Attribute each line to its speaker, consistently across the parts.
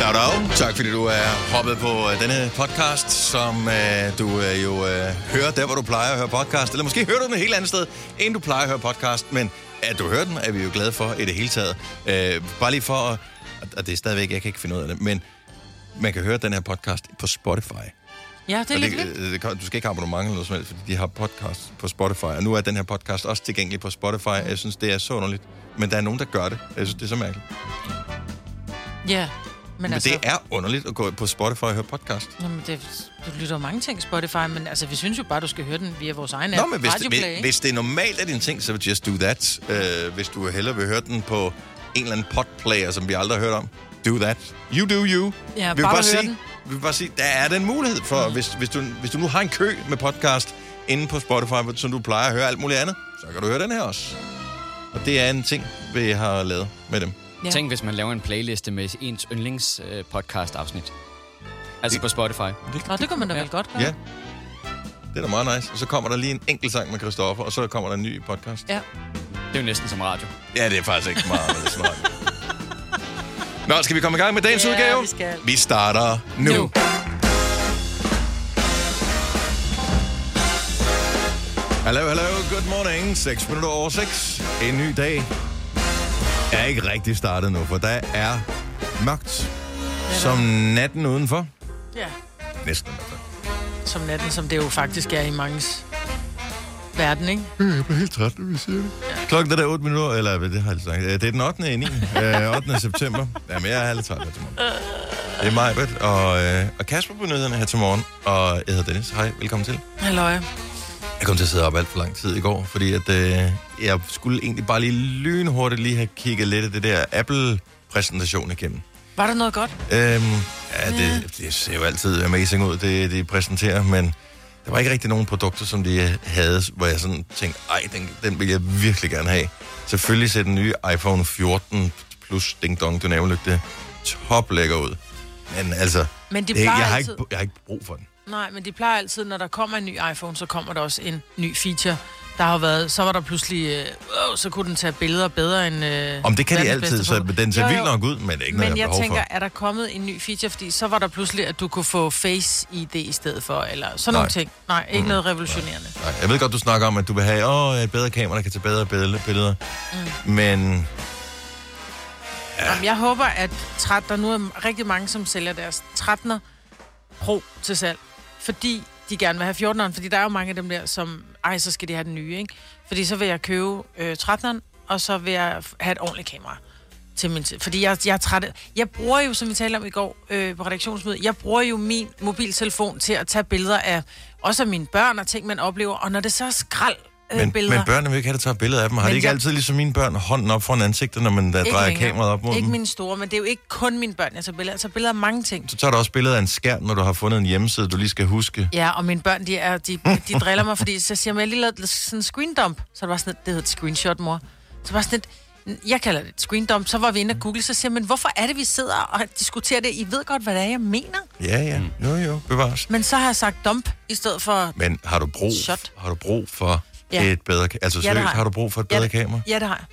Speaker 1: Dag, dag. Tak fordi du er hoppet på øh, denne podcast, som øh, du øh, jo øh, hører der, hvor du plejer at høre podcast. Eller måske hører du den et helt andet sted, end du plejer at høre podcast. Men at du hører den, er vi jo glade for i det hele taget. Øh, bare lige for at... Og det er stadigvæk, jeg kan ikke finde ud af det, men man kan høre den her podcast på Spotify.
Speaker 2: Ja, det er
Speaker 1: Og
Speaker 2: lidt
Speaker 1: det,
Speaker 2: vildt.
Speaker 1: øh, det, kan- du skal ikke have abonnement eller noget som helst, fordi de har podcast på Spotify. Og nu er den her podcast også tilgængelig på Spotify. Jeg synes, det er så underligt. Men der er nogen, der gør det. Jeg synes, det er så mærkeligt. Men,
Speaker 2: Ja, men,
Speaker 1: men
Speaker 2: altså...
Speaker 1: det er underligt at gå på Spotify og høre podcast.
Speaker 2: Jamen, det, du lytter jo mange ting på Spotify, men altså, vi synes jo bare, du skal høre den via vores egen
Speaker 1: Nå,
Speaker 2: app.
Speaker 1: men hvis, det,
Speaker 2: Radioplay,
Speaker 1: hvis,
Speaker 2: ikke?
Speaker 1: hvis det er normalt af dine ting, så just do that. Uh, hvis du hellere vil høre den på en eller anden podplayer, som vi aldrig har hørt om, do that. You do you.
Speaker 2: Ja, bare
Speaker 1: vi vil
Speaker 2: du hører
Speaker 1: sige,
Speaker 2: den.
Speaker 1: Vi vil bare sige, der er den mulighed for, mm. hvis, hvis, du, hvis du nu har en kø med podcast inde på Spotify, som du plejer at høre alt muligt andet, så kan du høre den her også. Og det er en ting, vi har lavet med dem.
Speaker 2: Ja.
Speaker 3: Ja. Tænk, hvis man laver en playliste med ens yndlings øh, podcast-afsnit. Altså på Spotify.
Speaker 2: Nå, det kunne man da vel godt gøre.
Speaker 1: Ja. Det er da meget nice. Og så kommer der lige en enkelt sang med Christoffer, og så kommer der en ny podcast.
Speaker 2: ja.
Speaker 3: Det er jo næsten som radio.
Speaker 1: Ja, det er faktisk ikke meget, men det er smart. Nå, skal vi komme i gang med dagens
Speaker 2: Ja,
Speaker 1: udgave?
Speaker 2: vi skal.
Speaker 1: Vi starter nu. nu.
Speaker 2: Nu.
Speaker 1: Hallo, hallo, good morning. 6 minutter over 6. En ny dag er ikke rigtig startet nu, for der er mørkt. Som natten udenfor.
Speaker 2: ja.
Speaker 1: Næsten i hvert fald.
Speaker 2: Som natten, som det jo faktisk er i manges verden, ikke?
Speaker 1: Jeg bliver helt træt, når vi siger det. Klokken er der 8 minutter, eller hvad, det har jeg lige sagt. Øh, Det er den 8. 9. øh, 8. september. Jamen, jeg er lidt træt her til morgen. Det er mig, Britt, og, øh, og Kasper på nyhederne her til morgen. Og jeg hedder Dennis. Hej, velkommen til.
Speaker 2: Halløj.
Speaker 1: Jeg kom til at sidde op alt for lang tid i går, fordi at, øh, jeg skulle egentlig bare lige lynhurtigt lige have kigget lidt af det der Apple-præsentation igennem.
Speaker 2: Var der noget godt?
Speaker 1: Øhm, ja, det, det ser jo altid amazing ud, det de præsenterer, men der var ikke rigtig nogen produkter, som de havde, hvor jeg sådan tænkte, ej, den, den vil jeg virkelig gerne have. Selvfølgelig ser den nye iPhone 14 plus Ding Dong dynamolygte top lækker øh, ud. Men altså,
Speaker 2: Men de
Speaker 1: det, jeg,
Speaker 2: plejer
Speaker 1: har
Speaker 2: altid-
Speaker 1: ikke, jeg har ikke brug for den.
Speaker 2: Nej, men de plejer altid, når der kommer en ny iPhone, så kommer der også en ny feature. Der har jo været, så var der pludselig, øh, øh, så kunne den tage billeder bedre end... Øh,
Speaker 1: Om det kan de
Speaker 2: verdens
Speaker 1: altid,
Speaker 2: bedste
Speaker 1: så
Speaker 2: foto.
Speaker 1: den ser
Speaker 2: Jo, jo.
Speaker 1: vildt nok ud, men det er ikke noget,
Speaker 2: Men
Speaker 1: jeg
Speaker 2: jeg
Speaker 1: har behov
Speaker 2: tænker,
Speaker 1: for.
Speaker 2: er der kommet en ny feature? Fordi så var der pludselig, at du kunne få Face ID i stedet for, eller sådan
Speaker 1: Nej.
Speaker 2: nogle ting. Nej, ikke mm, noget revolutionerende.
Speaker 1: Nej, jeg ved godt, du snakker om, at du vil have, åh, et bedre kamera, der kan tage bedre billeder, billeder. Mm. men
Speaker 2: Ja. Jamen, jeg håber, at 13, der nu er rigtig mange, som sælger deres 13'er Pro til salg, fordi de gerne vil have 14'eren, fordi der er jo mange af dem der, som, ej, så skal de have den nye, ikke? Fordi så vil jeg købe øh, 13'eren, og så vil jeg f- have et ordentligt kamera. Til min t- fordi jeg, jeg er træt. af- Jeg bruger jo, som vi talte om i går øh, på redaktionsmødet, jeg bruger jo min mobiltelefon til at tage billeder af også af mine børn og ting, man oplever. Og når det så er skrald øh,
Speaker 1: Men,
Speaker 2: billeder...
Speaker 1: men børnene vil ikke have, at tage billeder af dem. Har
Speaker 2: Men
Speaker 1: de ikke
Speaker 2: jeg-
Speaker 1: altid ligesom mine børn hånden op foran ansigtet, når man der
Speaker 2: Ikke
Speaker 1: drejer
Speaker 2: længere.
Speaker 1: kameraet op mod
Speaker 2: Ikke
Speaker 1: dem?
Speaker 2: mine store, men det er jo ikke kun mine børn, jeg tager billeder. Jeg tager billeder af mange ting.
Speaker 1: Så tager du også billeder af en skærm, når du har fundet en hjemmeside, du lige skal huske.
Speaker 2: Ja, og mine børn, de, er, de, de driller mig, fordi så siger man, jeg har lige lavet sådan en screen dump. Så er det var sådan et, det hedder et screenshot, mor. Så var sådan et, jeg kalder det et screen dump. Så var vi inde og google, så siger jeg, men hvorfor er det, vi sidder og diskuterer det? I ved godt, hvad det er, jeg mener.
Speaker 1: Ja, ja. Jo, jo. Bevares.
Speaker 2: Men så har jeg sagt dump i stedet for...
Speaker 1: Men har du brug,
Speaker 2: Shot.
Speaker 1: har du brug for
Speaker 2: Ja.
Speaker 1: et bedre... ka- Altså
Speaker 2: det
Speaker 1: seriøst,
Speaker 2: har
Speaker 1: har,
Speaker 2: jeg.
Speaker 1: du brug for et
Speaker 2: Ja,
Speaker 1: bedre
Speaker 2: det-
Speaker 1: kamera?
Speaker 2: Ja, det har jeg.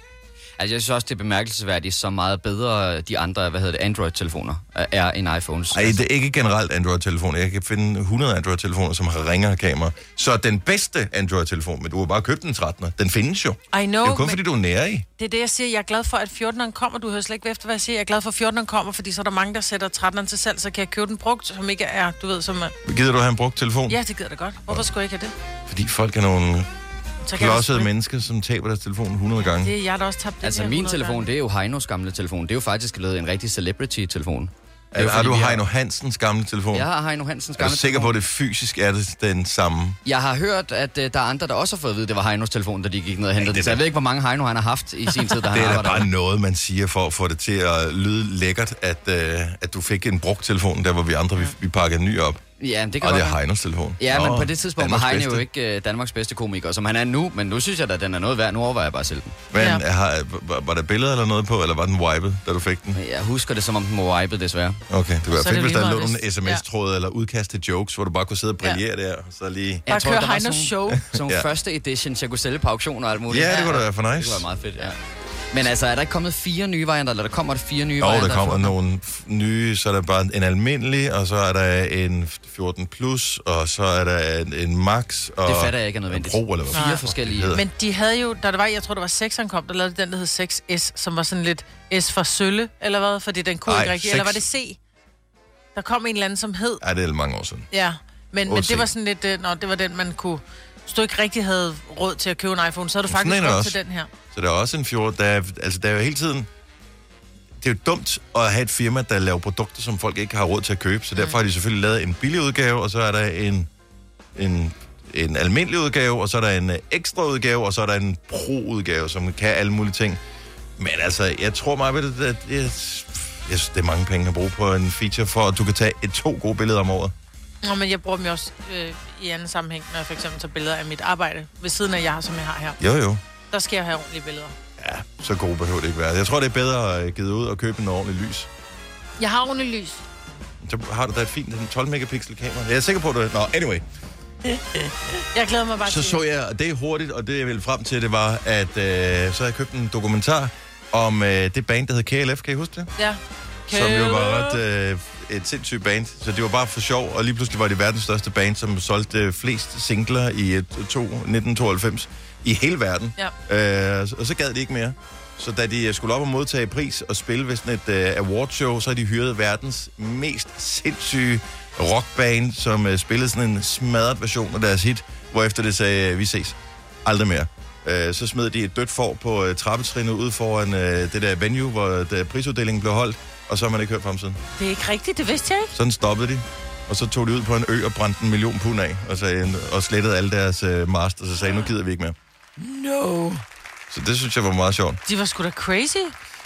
Speaker 3: Altså, jeg synes også, det er bemærkelsesværdigt, så meget bedre de andre, hvad hedder det, Android-telefoner øh, er end iPhones.
Speaker 1: Ej, det er ikke generelt Android-telefoner. Jeg kan finde 100 Android-telefoner, som har ringere kamera. Så den bedste Android-telefon, men du har bare købt den 13'er, den findes jo.
Speaker 2: I know,
Speaker 1: det er jo kun,
Speaker 2: men-
Speaker 1: fordi du er nære i.
Speaker 2: Det er det, jeg siger. Jeg er glad for, at 14'eren kommer. Du hører slet ikke efter, hvad jeg siger. Jeg er glad for, at 14'eren kommer, fordi så er der mange, der sætter 13'eren til salg, så kan jeg købe den brugt, som ikke er, du ved, som... er-
Speaker 1: Gider du have en brugt telefon?
Speaker 2: Ja, det gider det godt. Hvorfor skulle jeg ikke have det?
Speaker 1: Fordi folk er nogle
Speaker 2: Så kan jeg
Speaker 1: klodsede mennesker, som taber deres telefon 100 gange.
Speaker 2: Det er jeg, der også tabte den
Speaker 3: Altså,
Speaker 2: her
Speaker 3: min
Speaker 2: 100
Speaker 3: telefon,
Speaker 2: gange.
Speaker 3: det er jo Heinos gamle telefon. Det er jo faktisk blevet en rigtig celebrity-telefon. Det er jo
Speaker 1: Er, har
Speaker 3: fordi,
Speaker 1: du
Speaker 3: vi
Speaker 1: Heino Hansens gamle telefon?
Speaker 3: Jeg har Heino Hansens
Speaker 1: Er
Speaker 3: gamle
Speaker 1: du sikker
Speaker 3: telefon.
Speaker 1: på, at det fysisk er det den samme?
Speaker 3: Jeg har hørt, at uh, der er andre, der også har fået at vide, at det var Heinos telefon, da de gik ned og hentede
Speaker 1: det
Speaker 3: den. Så
Speaker 1: er-
Speaker 3: jeg ved ikke, hvor mange Heino han har haft i sin tid, da han
Speaker 1: Det er da
Speaker 3: arbejdede.
Speaker 1: bare noget, man siger for at få det til at lyde lækkert, at, øh, at du fik en brugt telefon, der hvor vi andre vi, vi pakkede en ny op.
Speaker 3: Ja, men det kan
Speaker 1: Og
Speaker 3: godt
Speaker 1: det
Speaker 3: være.
Speaker 1: er Heinos telefon.
Speaker 3: Ja,
Speaker 1: Nå,
Speaker 3: men på det tidspunkt var
Speaker 1: Danmarks
Speaker 3: Heino jo
Speaker 1: bedste.
Speaker 3: ikke øh, Danmarks bedste komiker, som han er nu. Men nu synes jeg da, at den er noget værd. Nu overvejer jeg bare selv den.
Speaker 1: Men
Speaker 2: Ja.
Speaker 1: har, var, var der billeder eller noget på, eller var den wiped, da du fik den?
Speaker 3: Jeg husker det, som om den var wiped, desværre.
Speaker 1: Okay, det var
Speaker 2: Så er
Speaker 1: fedt,
Speaker 2: det
Speaker 1: hvis der
Speaker 2: lige
Speaker 1: lå
Speaker 2: meget,
Speaker 1: nogle
Speaker 2: hvis-
Speaker 1: sms-tråde eller udkast til jokes, hvor du bare kunne sidde og brillere der, og så lige...
Speaker 2: Bare køre
Speaker 3: der var
Speaker 2: Heinos
Speaker 3: sådan-
Speaker 2: show.
Speaker 3: Sådan nogle
Speaker 1: Ja.
Speaker 3: første editions, jeg kunne sælge på auktioner og alt muligt.
Speaker 1: Ja, det kunne da være for nice.
Speaker 3: Det kunne være meget fedt, ja. Men altså, er der ikke kommet fire nye varianter, eller der kommer der fire nye
Speaker 1: Jo,
Speaker 3: varianter?
Speaker 1: der kommer nogle f- nye, så er der bare en almindelig, og så er der en 14 plus, og så er der en, en max, og
Speaker 3: Det fatter jeg ikke er nødvendigt.
Speaker 1: en Pro, eller hvad?
Speaker 3: Fire forskellige.
Speaker 1: hedder.
Speaker 2: Men de havde jo, da det var, jeg tror, det var 6'eren kom, der lavede de den, der hed 6S, som var sådan lidt S for sølle, eller hvad? Fordi den kunne
Speaker 1: Ej,
Speaker 2: ikke rigtig. Eller var det
Speaker 1: seks.
Speaker 2: C? Der kom en eller anden, som hed.
Speaker 1: Ej, det er mange år siden.
Speaker 2: Ja, men, men
Speaker 1: Otte C.
Speaker 2: det var sådan lidt... øh, Nå, det var den, man kunne... Hvis du ikke rigtig havde råd til at købe en iPhone, så havde du
Speaker 1: Sådan
Speaker 2: faktisk
Speaker 1: en er der
Speaker 2: råd
Speaker 1: også.
Speaker 2: til den her.
Speaker 1: Så der er også en 14, der er, altså der er jo hele tiden... Det er jo dumt at have et firma, der laver produkter, som folk ikke har råd til at købe, så derfor har de selvfølgelig lavet en billig udgave, og så er der en, en, en almindelig udgave, og så er der en øh, ekstra udgave, og så er der en pro-udgave, som kan alle mulige ting. Men altså, jeg tror meget ved det, at jeg, jeg synes, det er mange penge at bruge på en feature, for at du kan tage et, to gode billeder om året.
Speaker 2: Nå, men jeg bruger dem jo også øh, i anden sammenhæng, når jeg for eksempel tager billeder af mit arbejde, ved siden af jer, som jeg har her.
Speaker 1: Jo, jo.
Speaker 2: Der skal jeg have ordentlige billeder.
Speaker 1: Ja, så gode behøver det ikke være. Jeg tror, det er bedre at give ud og købe en ordentlig lys.
Speaker 2: Jeg har ordentligt lys.
Speaker 1: Så har du da et fint 12 megapixel kamera. Jeg er sikker på, at du... Nå, anyway.
Speaker 2: Jeg glæder mig bare
Speaker 1: Så
Speaker 2: til...
Speaker 1: så jeg, og det er hurtigt, og det jeg ville frem til, det var, at øh, så havde jeg købt en dokumentar om øh, det band, der hed KLF. Kan I huske det?
Speaker 2: Ja.
Speaker 1: Som jo var ret, øh, et sindssygt band. Så det var bare for sjov, og lige pludselig var det verdens største band, som solgte øh, flest singler i øh, to, 1992 i hele verden.
Speaker 2: Ja.
Speaker 1: Øh, og så gad de ikke mere. Så da de øh, skulle op og modtage pris og spille ved sådan et øh, awardshow, så havde de hyret verdens mest sindssyge rockband, som øh, spillede sådan en smadret version af deres hit, hvorefter det sagde, øh, vi ses. Aldrig mere. Øh, så smed de et dødt for på øh, trappetrinet ude foran øh, det der venue, hvor øh, prisuddelingen blev holdt, og så har man ikke hørt fra dem siden.
Speaker 2: Det er ikke rigtigt, det vidste jeg ikke.
Speaker 1: Sådan stoppede de. Og så tog de ud på en ø og brændte en million pund af, og, sagde, og slettede alle deres øh, master, og så sagde, nu gider vi ikke mere.
Speaker 3: No.
Speaker 1: Så det synes jeg var meget sjovt.
Speaker 2: De var sgu da crazy.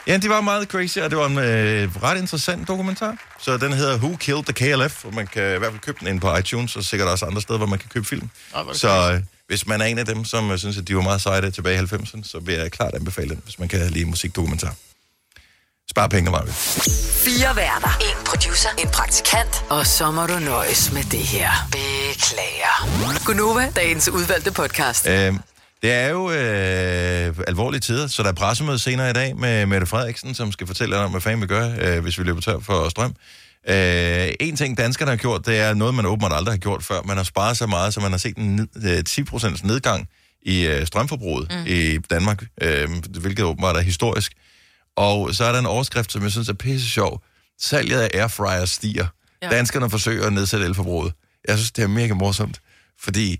Speaker 1: Ja, de var meget crazy, og det var en øh, ret interessant dokumentar. Så den hedder Who Killed the KLF, og man kan i hvert fald købe den ind på iTunes, og sikkert også andre steder, hvor man kan købe film.
Speaker 2: Ej, Ah, hvor er det
Speaker 1: Så øh, hvis man er en af dem, som øh, synes, at de var meget seje der tilbage i 90'erne, så vil jeg klart anbefale den, hvis man kan lide musikdokumentar. Spar penge, Marvind.
Speaker 4: Fire værter. En producer. En praktikant. Og så må du nøjes med det her. Beklager. Gunova, dagens udvalgte podcast.
Speaker 1: Øh, det er jo øh, alvorlige tider, så der er pressemøde senere i dag med Mette Frederiksen, som skal fortælle om, hvad fanden vi gør, øh, hvis vi løber tør for strøm. Øh, en ting, danskerne har gjort, det er noget, man åbenbart aldrig har gjort før. Man har sparet så meget, så man har set en ned, øh, 10% nedgang i øh, strømforbruget mm. i Danmark, øh, hvilket åbenbart er historisk. Og så er der en overskrift, som jeg synes er pisse sjov. Salget af airfryer stiger. Ja.
Speaker 2: Ja.
Speaker 1: Danskerne forsøger at nedsætte elforbruget. Jeg synes, det er mega morsomt, fordi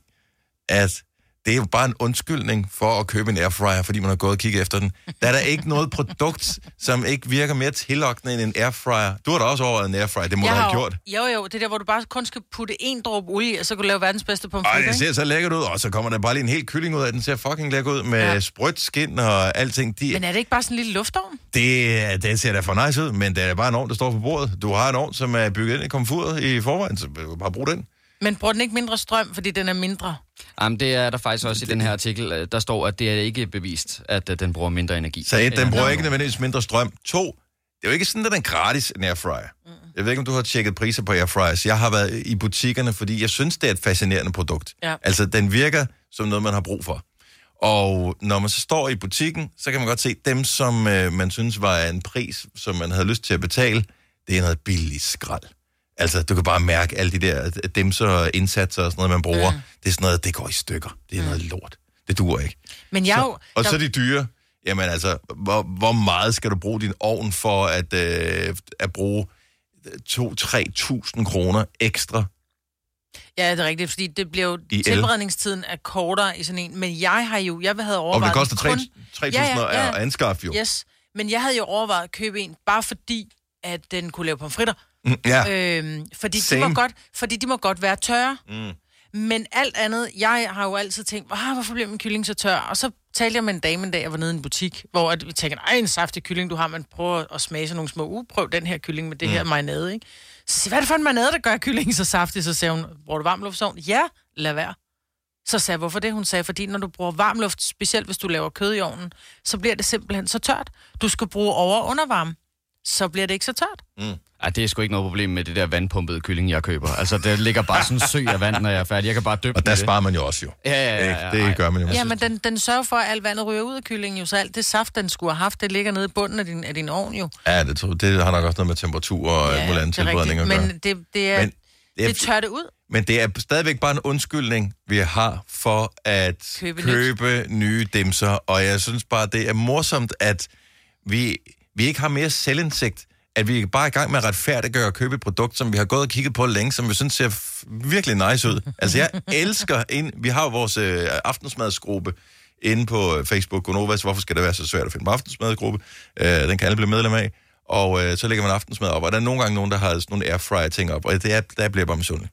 Speaker 1: at det er jo bare en undskyldning for at købe en airfryer, fordi man har gået og kigget efter den. Der er der ikke noget produkt, som ikke virker mere tillokkende end en airfryer. Du har da også overvejet en airfryer, det må du
Speaker 2: jeg
Speaker 1: have
Speaker 2: jo-
Speaker 1: gjort.
Speaker 2: Jo, jo, det er der, hvor du bare kun skal putte en dråbe olie, i, og så kan du lave verdens bedste
Speaker 1: Ej,
Speaker 2: pomfrit,
Speaker 1: det
Speaker 2: ikke?
Speaker 1: ser så lækkert ud, og så kommer der bare lige en hel kylling ud af, den ser fucking lækker ud med ja.
Speaker 2: Ja.
Speaker 1: sprødt skin og alting. De,
Speaker 2: Men er det ikke bare sådan en lille luftovn?
Speaker 1: Det, det ser da for nice ud, men det er bare en ovn, der står på bordet. Du har en ovn, som er bygget ind i komfuret i forvejen, så vil du bare brug den.
Speaker 2: Men bruger den ikke mindre strøm, fordi den er mindre?
Speaker 3: Jamen, det er der faktisk også i den her artikel. øh, Der står, at det er ikke bevist, at øh, den bruger mindre energi. Øh,
Speaker 1: Så et, den
Speaker 3: End
Speaker 1: bruger
Speaker 3: andre.
Speaker 1: ikke nødvendigvis mindre strøm. To, det er jo ikke sådan, at den er gratis, en airfryer. Jeg ved ikke, om du har tjekket priser på airfryers. Jeg har været i butikkerne, fordi jeg synes, det er et fascinerende produkt.
Speaker 2: Ja.
Speaker 1: Altså, den virker som noget, man har brug for. Og når man så står i butikken, så kan man godt se dem, som øh, man synes var en pris, som man havde lyst til at betale. Det er noget billigt skrald. Altså, du kan bare mærke alle de der dem så indsatser og sådan noget, man bruger. Mm. Det er sådan noget, det går i stykker. Det er mm. noget lort. Det duer ikke.
Speaker 2: Men jeg er jo...
Speaker 1: Og
Speaker 2: der-
Speaker 1: så de dyre. Jamen altså, hvor, hvor meget skal du bruge din ovn for at, øh, at bruge øh, 2-3.000 kroner ekstra?
Speaker 2: Ja, det er rigtigt, fordi det bliver jo...
Speaker 1: el.
Speaker 2: Tilberedningstiden er kortere i sådan en, men jeg har jo... Jeg havde
Speaker 1: Og
Speaker 2: overvejet...
Speaker 1: det koster
Speaker 2: kun-
Speaker 1: 3.000 at anskaffe jo.
Speaker 2: Yes, men jeg havde jo overvejet at købe en, bare fordi, at den kunne lave pomfritter.
Speaker 1: Mm, Ja,
Speaker 2: Øhm, fordi, de
Speaker 1: Same.
Speaker 2: må godt, fordi de må godt være tørre. Mm. Men alt andet, jeg har jo altid tænkt, ah, hvorfor bliver min kylling så tør? Og så talte jeg med en dame en dag, jeg var nede i en butik, hvor at vi tænkte, ej, en saftig kylling, du har, man prøver at smage sådan nogle små, uh, prøv den her kylling med det mm. her marinade, ikke? Så siger, jeg, hvad er det for en marinade, der gør kyllingen så saftig? Så sagde hun, bruger du varmluftsovn? Ja, lad være. Så sagde jeg, hvorfor det? Hun sagde, fordi når du bruger varmluft, specielt hvis du laver kød i ovnen, så bliver det simpelthen så tørt. Du skal bruge over- og undervarme, så bliver det ikke så tørt.
Speaker 3: Ja, det er sgu ikke noget problem med det der vandpumpede kylling, jeg køber. Altså, der ligger bare sådan en sø af vand, når jeg er færdig. Jeg kan bare dyppe
Speaker 1: Og der
Speaker 3: den i
Speaker 1: sparer man jo også jo.
Speaker 3: det. Ja, ja, ja,
Speaker 1: Ikke?
Speaker 3: ja,
Speaker 1: Det
Speaker 3: ej.
Speaker 1: gør man jo.
Speaker 2: Ja, men den, den sørger for, at alt vandet ryger ud af kyllingen jo, så alt det saft, den skulle have haft, det ligger nede i bunden af din, af din ovn jo.
Speaker 1: Ja, det, tror, det har nok også noget med temperatur og ja,
Speaker 2: Ja,
Speaker 1: mulig anden
Speaker 2: det er
Speaker 1: tilbredning at
Speaker 2: rigtigt,
Speaker 1: gøre.
Speaker 2: Men det, det, er,
Speaker 1: Men
Speaker 2: men
Speaker 1: det er-
Speaker 2: det, det tør det ud.
Speaker 1: Men det er stadigvæk bare en undskyldning, vi har for at købe,
Speaker 2: Købe nyt.
Speaker 1: købe nye dimser. Og jeg synes bare, det er morsomt, at vi, vi ikke har mere selvindsigt. At vi er bare i gang med at retfærdiggøre at købe et produkt, som vi har gået og kigget på længe, som vi synes ser f- virkelig nice ud. Altså jeg elsker ind. Vi har jo vores øh, aftensmadsgruppe inde på øh, Facebook, Gonovas. Hvorfor skal det være så svært at finde på aftensmadsgruppe? Øh, den kan alle blive medlem af. Og øh, så lægger man aftensmad op. Og der er nogle gange nogen, der har sådan nogle airfryer ting op. Og det er, der bliver jeg bare misundelig.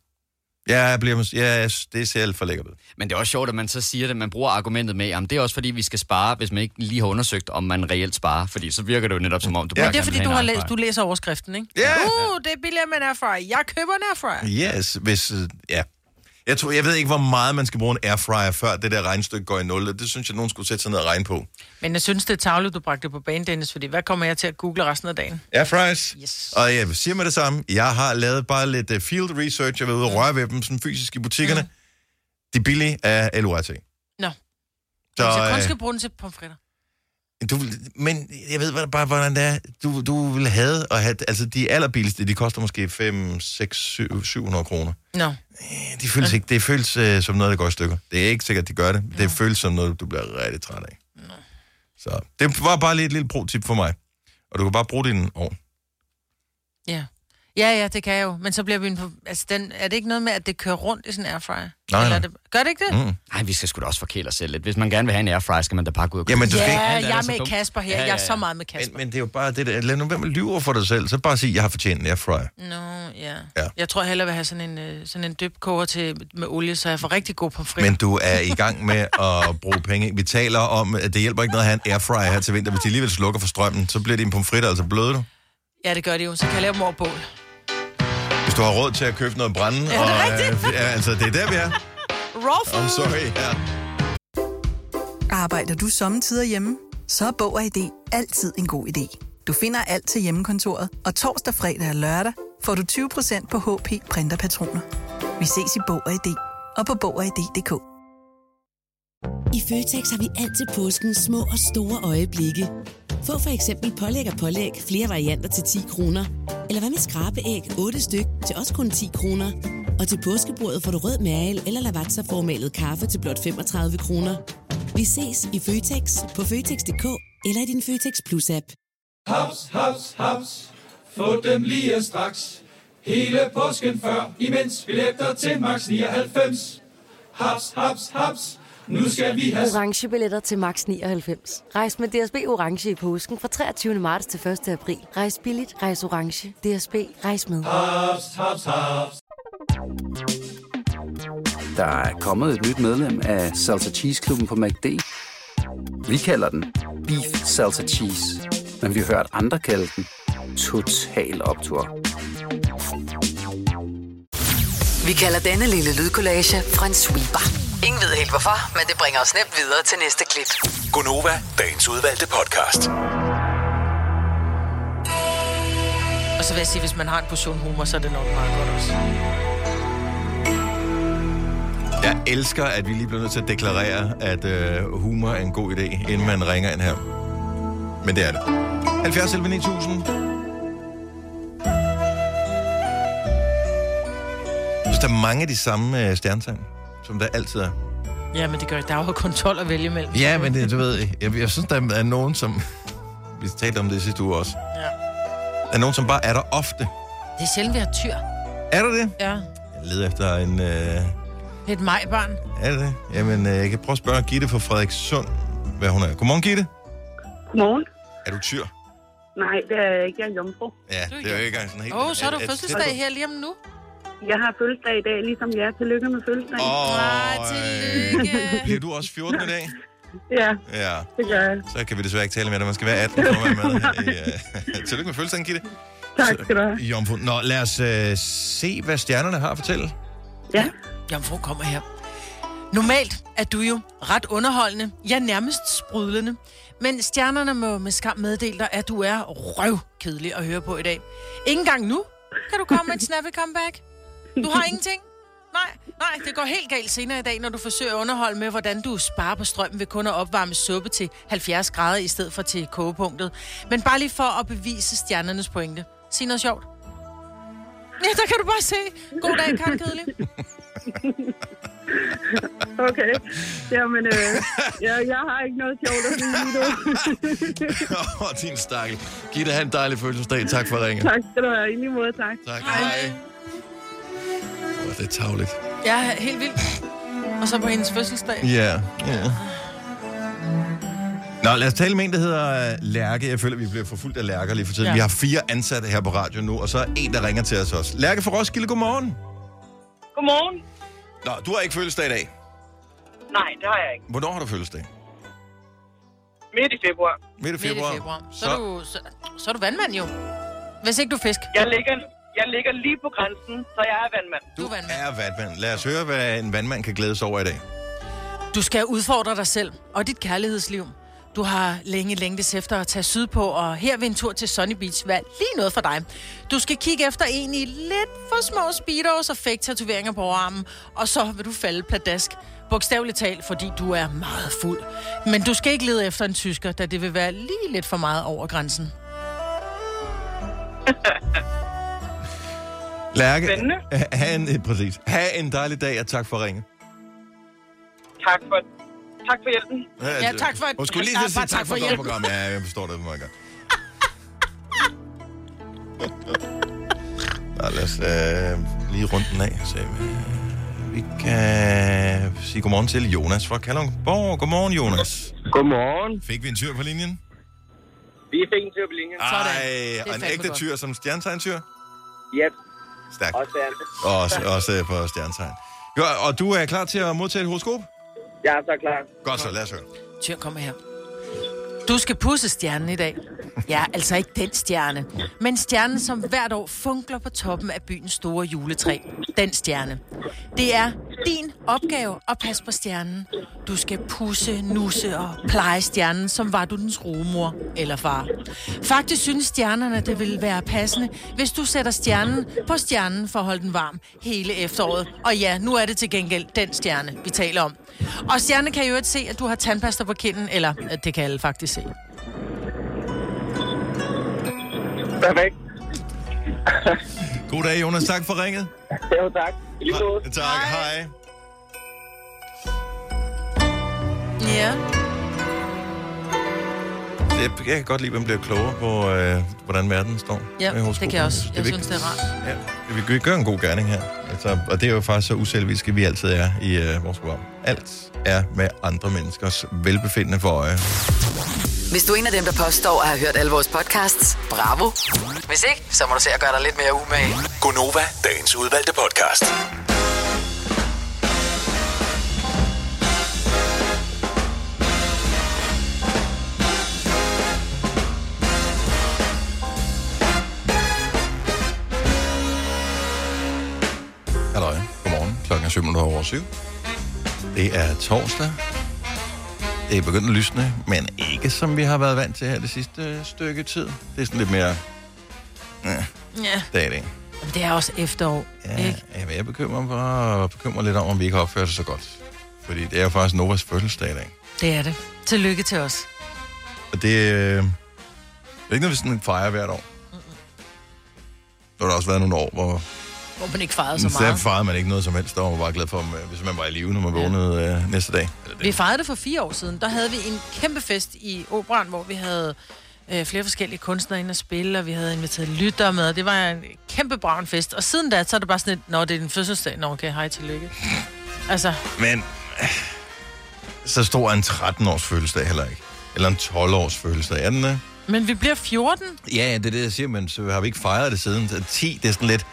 Speaker 1: Ja, jeg bliver, mås- ja, jeg synes, det ser alt for lækkert ud.
Speaker 3: Men det er også sjovt, at man så siger det, man bruger argumentet med, at det er også fordi, vi skal spare, hvis man ikke lige har undersøgt, om man reelt sparer. Fordi så virker det jo netop som om, du
Speaker 1: Ja.
Speaker 3: bare
Speaker 2: Men det er,
Speaker 3: gerne vil
Speaker 2: fordi
Speaker 3: have
Speaker 2: du,
Speaker 3: en
Speaker 2: har
Speaker 3: iPhone.
Speaker 2: læst, du læser overskriften, ikke?
Speaker 1: Ja.
Speaker 2: Uh, det er billigere med en airfryer. Jeg køber en airfryer.
Speaker 1: Yes, hvis, øh, ja. Jeg, tror, jeg ved ikke, hvor meget man skal bruge en airfryer, før det der regnstykke går i nul. og Det synes jeg, nogen skulle sætte sig ned og regne på.
Speaker 2: Men jeg synes, det er tavligt, du bragte det på banen, Dennis, fordi hvad kommer jeg til at google resten af dagen?
Speaker 1: Airfryers.
Speaker 2: Yes.
Speaker 1: Og jeg siger med det samme, jeg har lavet bare lidt øh, field research. Jeg har været
Speaker 2: Mm.
Speaker 1: ude og røre ved dem sådan fysisk i butikkerne. De billige er LORT. Så,
Speaker 2: Nå, så, hvis jeg kun skal bruge den til pomfritter.
Speaker 1: øh, du, vil- men jeg ved hvad- bare, hvordan det er. Du, du vil have at have... Altså, de allerbilligste, de koster måske 5, 6, 7, 700 kroner.
Speaker 2: Nå,
Speaker 1: De føles ikke, det føles øh, som noget, der går i stykker. Det er ikke sikkert, de gør det. Det føles som noget, du bliver rigtig træt af. Så det var bare lige et lille pro-tip for mig. Og du kan bare bruge din ovn.
Speaker 2: ja. Ja, ja, det kan jeg jo. Men så bliver vi... en på- Altså, den, er det ikke noget med, at det kører rundt i sådan en airfryer?
Speaker 1: Nej,
Speaker 2: Eller
Speaker 1: nej.
Speaker 2: er Det, gør det ikke det?
Speaker 1: Mm.
Speaker 3: Nej, vi skal sgu da også forkæle os selv lidt. Hvis man gerne vil have en airfryer, skal man da bare gå ud og købe
Speaker 1: Jamen, du
Speaker 3: den.
Speaker 1: skal
Speaker 2: Ja,
Speaker 1: ikke-
Speaker 3: Alt andet
Speaker 2: jeg
Speaker 3: er
Speaker 2: er
Speaker 3: så
Speaker 2: med
Speaker 3: dumt.
Speaker 2: Kasper her.
Speaker 3: Ja, ja,
Speaker 2: Jeg er så
Speaker 3: ja.
Speaker 2: meget med
Speaker 1: Men,
Speaker 2: Kasper.
Speaker 1: men det er jo bare det der. Lad nu være med at lyve over for dig selv. Så bare sig, jeg har fortjent en airfryer.
Speaker 2: Nå, ja.
Speaker 1: Ja.
Speaker 2: ja. Jeg tror hellere, jeg vil have sådan en, øh, sådan en døbkoger til, med olie, så jeg får rigtig god pomfrit.
Speaker 1: Men du er i gang med at bruge penge. Vi taler om, at det hjælper ikke noget at have en airfryer her til vinter. Hvis de alligevel slukker for strømmen, så bliver dine pomfritter altså bløde. du.
Speaker 2: Ja, det gør det jo. Så kan jeg lave dem over bål.
Speaker 1: Hvis du har råd til at købe noget brænde.
Speaker 2: Ja, det er
Speaker 1: og, øh, ja, altså, det er der, vi er.
Speaker 2: Raw food!
Speaker 1: I'm sorry. Ja.
Speaker 5: Arbejder du sommetider hjemme? Så er Bog og ID altid en god idé. Du finder alt til hjemmekontoret, og torsdag, fredag og lørdag får du 20% på HP Printerpatroner. Vi ses i Bog og ID og på Bog og ID.dk.
Speaker 6: I Føtex har vi altid påsken små og store øjeblikke. Få for eksempel pålæg og pålæg flere varianter til 10 kroner. Eller hvad med skrabeæg 8 styk til også kun 10 kroner. Og til påskebordet får du rød mal eller lavatserformalet kaffe til blot 35 kroner. Vi ses i Føtex på Føtex.dk eller i din Føtex Plus-app.
Speaker 7: Haps, haps, haps. Få dem lige straks. Hele påsken før, imens billetter til max 99. Haps, haps, haps. Nu skal vi have
Speaker 8: orange billetter til max 99. Rejs med DSB orange i påsken fra 23. marts til 1. april. Rejs billigt, rejs orange. DSB rejs med.
Speaker 7: haps, haps, haps.
Speaker 9: Der er kommet et nyt medlem af Salsa Cheese Klubben på MACD. Vi kalder den Beef Salsa Cheese. Men vi har hørt andre kalde den Total Optor.
Speaker 4: Vi kalder denne lille lydkollage en sweeper. Ingen ved helt hvorfor, men det bringer os nemt videre til næste klip.
Speaker 10: Gunova, dagens udvalgte podcast.
Speaker 2: Og så vil jeg sige, hvis man har en portion humor, så er det nok meget godt også.
Speaker 1: Jeg elsker, at vi lige bliver nødt til at deklarere, at øh, humor er en god idé, inden man ringer ind her. Men det er det. 70 11 9000. Så der er mange af de samme øh, stjernetegn, som der altid er.
Speaker 2: Ja, men det gør Der er jo kun 12 at vælge imellem.
Speaker 1: Ja, men det, du ved, jeg, jeg synes, der er nogen, som... Vi talte om det sidste uge også.
Speaker 2: Ja.
Speaker 1: Der er nogen, som bare er der ofte.
Speaker 2: Det er sjældent, vi har tyr.
Speaker 1: Er der det?
Speaker 2: Ja.
Speaker 1: Jeg leder efter en... Øh,
Speaker 2: Det er et majbarn.
Speaker 1: Er det det? Jamen, øh, jeg kan prøve at spørge Gitte fra Frederikssund, hvad hun er. Godmorgen, Gitte.
Speaker 11: Morgen.
Speaker 1: Er du tyr?
Speaker 11: Nej, det er jeg ikke. Jeg er jomfru.
Speaker 1: Ja, det er jo ikke engang sådan helt...
Speaker 2: Åh, oh, så er du
Speaker 1: at- at-
Speaker 2: fødselsdag her lige om nu.
Speaker 11: Jeg har fødselsdag i dag, ligesom jeg. Tillykke med fødselsdagen. Oh.
Speaker 2: Nej,
Speaker 1: Åh, øh,
Speaker 2: tillykke.
Speaker 1: bliver du også 14 i dag?
Speaker 11: Ja,
Speaker 1: Ja,
Speaker 11: det gør jeg.
Speaker 1: så kan vi desværre ikke tale med dig. Man skal være 18 for at være med. her i, øh, Tillykke med fødselsdagen, Gitte.
Speaker 11: Tak skal du have.
Speaker 1: Jomfru. Nå, lad os øh, se, hvad stjernerne har at fortælle.
Speaker 11: Ja,
Speaker 2: Jomfru kommer her. Normalt er du jo ret underholdende, ja nærmest sprudlende. Men stjernerne må med skam meddele dig, at du er røvkedelig at høre på i dag. Ingen gang nu kan du komme med et snappy comeback. Du har ingenting. Nej, nej, det går helt galt senere i dag, når du forsøger at underholde med, hvordan du sparer på strømmen ved kun at opvarme suppe til 70 grader i stedet for til kogepunktet. Men bare lige for at bevise stjernernes pointe. Sig noget sjovt. Ja, der kan du bare se. God dag, Karen Kedelig.
Speaker 11: Okay. Jamen, øh, ja, jeg har ikke noget sjovt at sige nu.
Speaker 1: Åh, oh, din stakkel. Giv dig en dejlig fødselsdag. Tak for ringen.
Speaker 11: tak skal du have. I lige måde, tak.
Speaker 1: Tak. Hej. Oh, det er tavligt.
Speaker 2: Ja, helt vildt. Og så på hendes fødselsdag.
Speaker 1: Ja. ja. Nå, lad os tale med en, der hedder øh, Lærke. Jeg føler, vi bliver forfulgt af Lærker lige for tiden.
Speaker 2: Ja.
Speaker 1: Ja. Vi har fire ansatte her på radio nu, og så er en, der ringer til os også. Lærke fra Roskilde, godmorgen.
Speaker 12: Godmorgen.
Speaker 1: Nå, du har ikke fødselsdag i dag.
Speaker 12: Nej, det har jeg ikke.
Speaker 1: Hvornår har du fødselsdag?
Speaker 12: Midt i februar.
Speaker 1: Midt i februar.
Speaker 2: Midt i februar. Så, så... Er du, så, så er du vandmand jo. Hvis ikke du er fisk.
Speaker 12: Jeg ligger, jeg ligger lige på grænsen, så jeg er vandmand.
Speaker 2: Du er vandmand.
Speaker 1: Er vandmand. Lad os høre, hvad en vandmand kan glædes over i dag.
Speaker 2: Du skal udfordre dig selv og dit kærlighedsliv. Du har længe længtes efter at tage sydpå, og her vil en tur til Sunny Beach være lige noget for dig. Du skal kigge efter en i lidt for små speedos og fake tatoveringer på armen, og så vil du falde pladask. Bogstaveligt talt, fordi du er meget fuld. Men du skal ikke lede efter en tysker, da det vil være lige lidt for meget over grænsen.
Speaker 1: Lærke,
Speaker 12: Spændende.
Speaker 1: ha- ha' en, eh, præcis. Ha' en dejlig dag, og tak for ringen.
Speaker 12: Tak for, tak for hjælpen.
Speaker 1: Ja, tak for- Hun skulle lige til at sige tak for et godt program. Ja, jeg forstår det meget godt. Nå, lad os øh, lige rundt den af. Så, øh, vi kan sige godmorgen til Jonas fra Kalundborg. Godmorgen, Jonas.
Speaker 13: Godmorgen.
Speaker 1: Fik vi en tyr på linjen?
Speaker 13: Vi fik en tyr på linjen.
Speaker 1: Ej, og en ægte tyr som stjernetegntyr?
Speaker 13: Yep.
Speaker 1: Stærkt.
Speaker 13: Også er det.
Speaker 1: Også, også øh, på stjernetegn. Jo, og du er klar til at modtage et horoskop?
Speaker 13: Jeg er så klar.
Speaker 1: Godt så, lad os høre.
Speaker 2: Tyr, kom her. Du skal pusse stjernen i dag. Ja, altså ikke den stjerne, men stjernen, som hvert år funkler på toppen af byens store juletræ. Den stjerne. Det er din opgave at passe på stjernen. Du skal pusse, nusse og pleje stjernen, som var du dens rumor eller far. Faktisk synes stjernerne, det ville være passende, hvis du sætter stjernen på stjernen for at holde den varm hele efteråret. Og ja, nu er det til gengæld den stjerne, vi taler om. Og stjerne kan jo ikke se, at du har tandpasta på kinden, eller øh, det kan alle faktisk se.
Speaker 13: Perfekt.
Speaker 1: God dag, Jonas. Tak for ringet.
Speaker 13: Jo, tak. I lige måde.
Speaker 1: Tak, hej.
Speaker 2: Ja.
Speaker 1: Jeg, jeg kan godt lide, at man bliver klogere på, øh, hvordan verden står.
Speaker 2: Ja,
Speaker 1: med horoskoper.
Speaker 2: det kan jeg også. Jeg synes,
Speaker 1: vigtigt.
Speaker 2: det er rart.
Speaker 1: Ja. Vi kan gøre en god gerning her. Altså, og det er jo faktisk så uselviske, vi altid er i øh, vores program. Alt er med andre menneskers velbefindende for øje.
Speaker 4: Hvis du er en af dem, der påstår at have hørt alle vores podcasts, bravo. Hvis ikke, så må du se at gøre dig lidt mere umage.
Speaker 10: Gonova, dagens udvalgte podcast.
Speaker 1: Halløj. Godmorgen. Klokken er 7 minutter over 7. Det er torsdag. Det er begyndt at lysne, men ikke som vi har været vant til her det sidste stykke tid. Det er sådan lidt mere... Ja,
Speaker 2: Ja.
Speaker 1: dag i dag.
Speaker 2: Men Det er også efterår.
Speaker 1: Ja, jamen, jeg bekymrer mig bekymrer lidt over, om vi ikke har opført os så godt. Fordi det er jo faktisk Novas fødselsdag i dag.
Speaker 2: Det er det. Tillykke til os.
Speaker 1: Og det, øh, det er ikke noget, vi sådan fejrer hvert år. Der har der også været nogle år, hvor
Speaker 2: Hvor man ikke fejrede så
Speaker 1: så der
Speaker 2: meget.
Speaker 1: fejrede man ikke noget som helst. Der var man bare glad for, om, øh, hvis man var i live, når man vågnede øh, næste dag. Eller det-
Speaker 2: Vi fejrede det for fire år siden. Der havde vi en kæmpe fest i operan, hvor vi havde øh, flere forskellige kunstnere inde at spille, og vi havde inviteret lyttere med, og det var en kæmpe braun fest. Og siden da, så er det bare sådan et, nå, det er din fødselsdag, nå, okay, hej, tillykke. Altså,
Speaker 1: Men øh, så stor er en 13-års fødselsdag heller ikke. Eller en 12-års fødselsdag. Er den det?
Speaker 2: men vi bliver 14.
Speaker 1: Ja, ja, det er det, jeg siger, men så har vi ikke fejret det siden. Så 10, det er sådan lidt...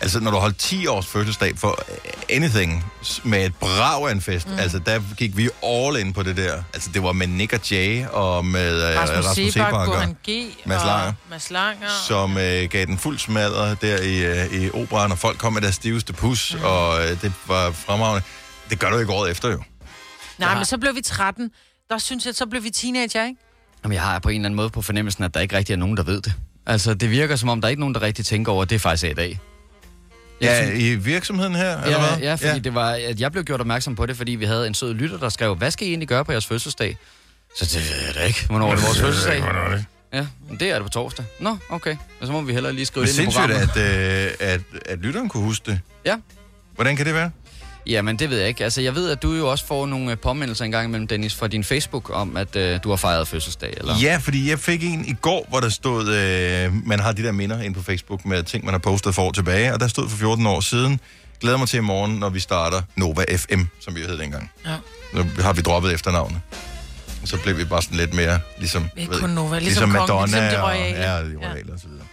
Speaker 1: Altså, når du holdt 10 års fødselsdag for eh, anything s- med et brag af en fest, mm. altså, der gik vi all in på det der. Altså, det var med Nick og Jay og med øh,
Speaker 2: Rasmus
Speaker 1: Rasmus
Speaker 2: Sebak,
Speaker 1: Sebak og
Speaker 2: Goran G.
Speaker 1: Mads Langer,
Speaker 2: og Mads Langer.
Speaker 1: som øh, gav den fuld smadret der i, øh, i operan, og folk kom med deres stiveste pus, mm. og øh, det var fremragende. Det gør du ikke året efter, jo.
Speaker 2: Nej, men så blev vi 13. Der synes jeg, så blev vi teenager, ikke?
Speaker 3: Jamen, jeg har på en eller anden måde på fornemmelsen, at der ikke rigtig er nogen, der ved det. Altså, det virker som om, der er ikke nogen, der rigtig tænker over, at det er faktisk er i dag.
Speaker 1: Ja, i virksomheden her, eller
Speaker 3: ja,
Speaker 1: hvad?
Speaker 3: Ja, fordi ja. det var, at jeg blev gjort opmærksom på det, fordi vi havde en sød lytter, der skrev, hvad skal I egentlig gøre på jeres fødselsdag? Så det ved jeg da ikke. Hvornår er det vores
Speaker 1: Det ved jeg
Speaker 3: fødselsdag?
Speaker 1: ikke, hvornår er det?
Speaker 3: Ja, men det er det på torsdag. Nå, okay. Og så må vi hellere lige skrive
Speaker 1: Det er
Speaker 3: det ind i
Speaker 1: sindssygt,
Speaker 3: programmet.
Speaker 1: at, øh, at, at lytteren kunne huske det.
Speaker 3: Ja.
Speaker 1: Hvordan kan det være?
Speaker 3: Jamen, det ved jeg ikke. Altså, jeg ved, at du jo også får nogle øh, påmindelser engang imellem, Dennis, fra din Facebook om, at øh, du har fejret fødselsdag. Eller?
Speaker 1: Ja, fordi jeg fik en i går, hvor der stod, øh, man har de der minder ind på Facebook med ting, man har postet for år tilbage, og der stod for 14 år siden, glæder mig til i morgen, når vi starter Nova FM, som vi hed dengang.
Speaker 2: Ja.
Speaker 1: Nu har vi droppet efternavnet. Så blev vi bare sådan lidt mere, ligesom...
Speaker 2: Vi er
Speaker 1: ved-
Speaker 2: kun Nova, ligesom kongen, ligesom de
Speaker 1: og,
Speaker 2: royale.
Speaker 1: ja, de royale og så videre.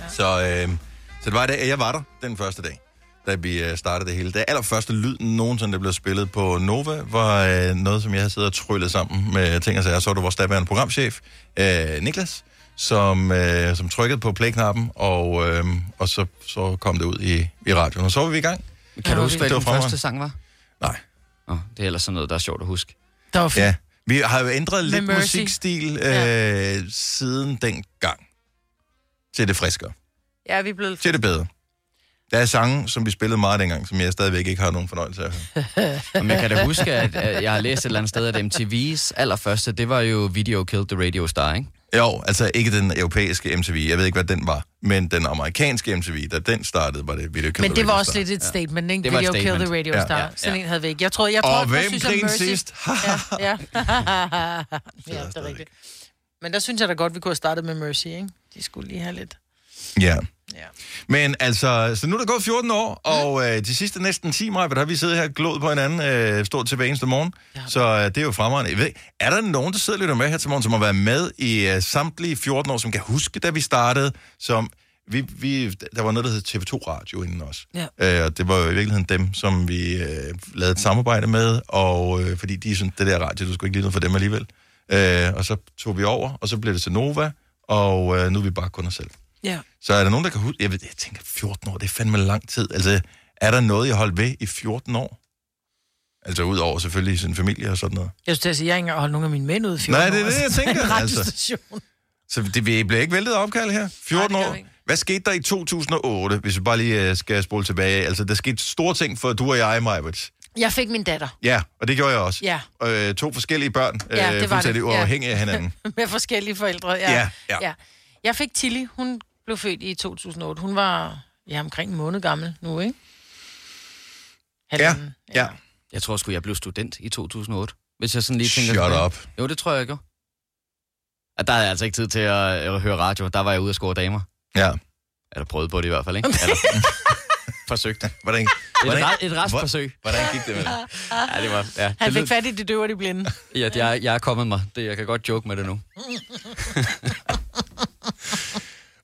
Speaker 1: Ja. Så, øh, så det var i dag, at jeg var der den første dag, da vi øh, startede det hele. Det allerførste lyd nogensinde, der blev spillet på Nova, var øh, noget, som jeg havde siddet og tryllet sammen med ting og sager. Så var det vores daværende programchef, øh, Niklas, som, øh, som trykkede på play-knappen, og, øh, og så, så kom det ud i, i radioen. Og så var vi i gang.
Speaker 3: Kan du huske, hvad
Speaker 1: Det var
Speaker 3: den
Speaker 1: fremragende.
Speaker 3: første sang var?
Speaker 1: Nej.
Speaker 3: Oh, det er ellers sådan noget, der er sjovt at huske.
Speaker 2: Der var
Speaker 1: Ja. Vi har jo ændret
Speaker 3: Med
Speaker 1: lidt
Speaker 3: Mercy.
Speaker 1: musikstil øh, siden dengang. Til det friskere.
Speaker 2: Ja, vi er blevet...
Speaker 1: Til det bedre. Der er sange, som vi spillede meget dengang, som jeg stadigvæk ikke har nogen fornøjelse af.
Speaker 3: Men jeg kan da huske, at, at jeg har læst et eller andet sted, at MTV's allerførste, det var jo Video Killed the Radio Star, ikke?
Speaker 1: Jo, altså ikke den europæiske MTV. Jeg ved ikke, hvad den var. Men den amerikanske MTV, da den startede, var det Video Killed
Speaker 2: Men
Speaker 1: the
Speaker 2: det var
Speaker 1: Radio
Speaker 2: også
Speaker 1: Star.
Speaker 2: lidt et statement, ikke?
Speaker 1: Det var et
Speaker 2: Video Kill the
Speaker 1: statement.
Speaker 2: Radio
Speaker 1: Ja.
Speaker 2: Star.
Speaker 1: Ja, ja.
Speaker 2: Sådan en havde vi ikke. Jeg tror, jeg tror,
Speaker 1: Og
Speaker 2: jeg
Speaker 1: hvem
Speaker 2: synes, at
Speaker 1: griner
Speaker 2: Mercy-
Speaker 1: sidst?
Speaker 2: ja, ja. ja, det er rigtigt. Men der synes jeg da godt, vi kunne have startet med Mercy, ikke? De skulle lige have lidt.
Speaker 1: Ja. Men altså, så nu er der gået 14 år, og øh, de sidste næsten 10 maj, der har vi siddet her og glået på hinanden øh, stort til hver eneste morgen. Ja. Så øh, det er jo fremragende. Jeg ved, er der nogen, der sidder og lytter med her til morgen, som har været med i øh, samtlige 14 år, som kan huske, da vi startede, som... Vi, vi, der var noget, der hed TV2 Radio inden også. Øh, og det var jo i virkeligheden dem, som vi øh, lavede et samarbejde med, og øh, fordi de syntes, det der radio, du skulle ikke lide noget for dem alligevel. Øh, og så tog vi over, og så blev det til Nova, og øh, nu er vi bare kun os selv.
Speaker 2: Ja.
Speaker 1: Så er der nogen, der kan huske... Jeg, ved, jeg tænker, 14 år, det er fandme lang tid. Altså, er der noget, jeg holdt ved i 14 år? Altså, udover selvfølgelig sin familie og sådan noget.
Speaker 2: Jeg synes, til at sige, jeg har ikke engang holdt nogen af mine mænd ud i 14
Speaker 1: Nej, det er
Speaker 2: år,
Speaker 1: det, jeg
Speaker 2: altså.
Speaker 1: tænker,
Speaker 2: En
Speaker 1: altså.
Speaker 2: radiostation.
Speaker 1: Så det vi bliver ikke væltet af opkald her? 14 år. Hvad skete der i 2008, hvis vi bare lige øh, skal spole tilbage? Altså, der skete store ting for du og jeg, Majbert.
Speaker 2: Jeg fik min datter.
Speaker 1: Ja, og det gjorde jeg også.
Speaker 2: Ja.
Speaker 1: Øh, to forskellige børn, øh,
Speaker 2: Ja, det var det.
Speaker 1: fuldstændig
Speaker 2: Ja.
Speaker 1: uafhængige af hinanden.
Speaker 2: med forskellige forældre. Ja,
Speaker 1: Ja, ja.
Speaker 2: Jeg fik Tilly, hun blev født i 2008. Hun var ja, omkring en måned gammel nu, ikke?
Speaker 1: Ja, ja.
Speaker 3: Jeg tror sgu, jeg blev student i 2008. Hvis jeg sådan lige tænker...
Speaker 1: Shut
Speaker 3: tilbage.
Speaker 1: up.
Speaker 3: Jo, det tror jeg, jeg gjorde. At der er altså ikke tid til at, at høre radio. Der var jeg ude og score damer.
Speaker 1: Ja.
Speaker 3: Eller prøvede på det i hvert fald, ikke? Eller, forsøgte.
Speaker 1: Hvordan,
Speaker 3: et,
Speaker 1: hvordan-
Speaker 3: ret, et restforsøg.
Speaker 1: Hvordan gik det med det?
Speaker 3: Ja, det var... Ja,
Speaker 2: Ah, Han
Speaker 3: det
Speaker 2: fik fat i det døve og de blinde.
Speaker 3: Ja, det er, jeg er kommet mig. Det, jeg kan godt joke med det nu.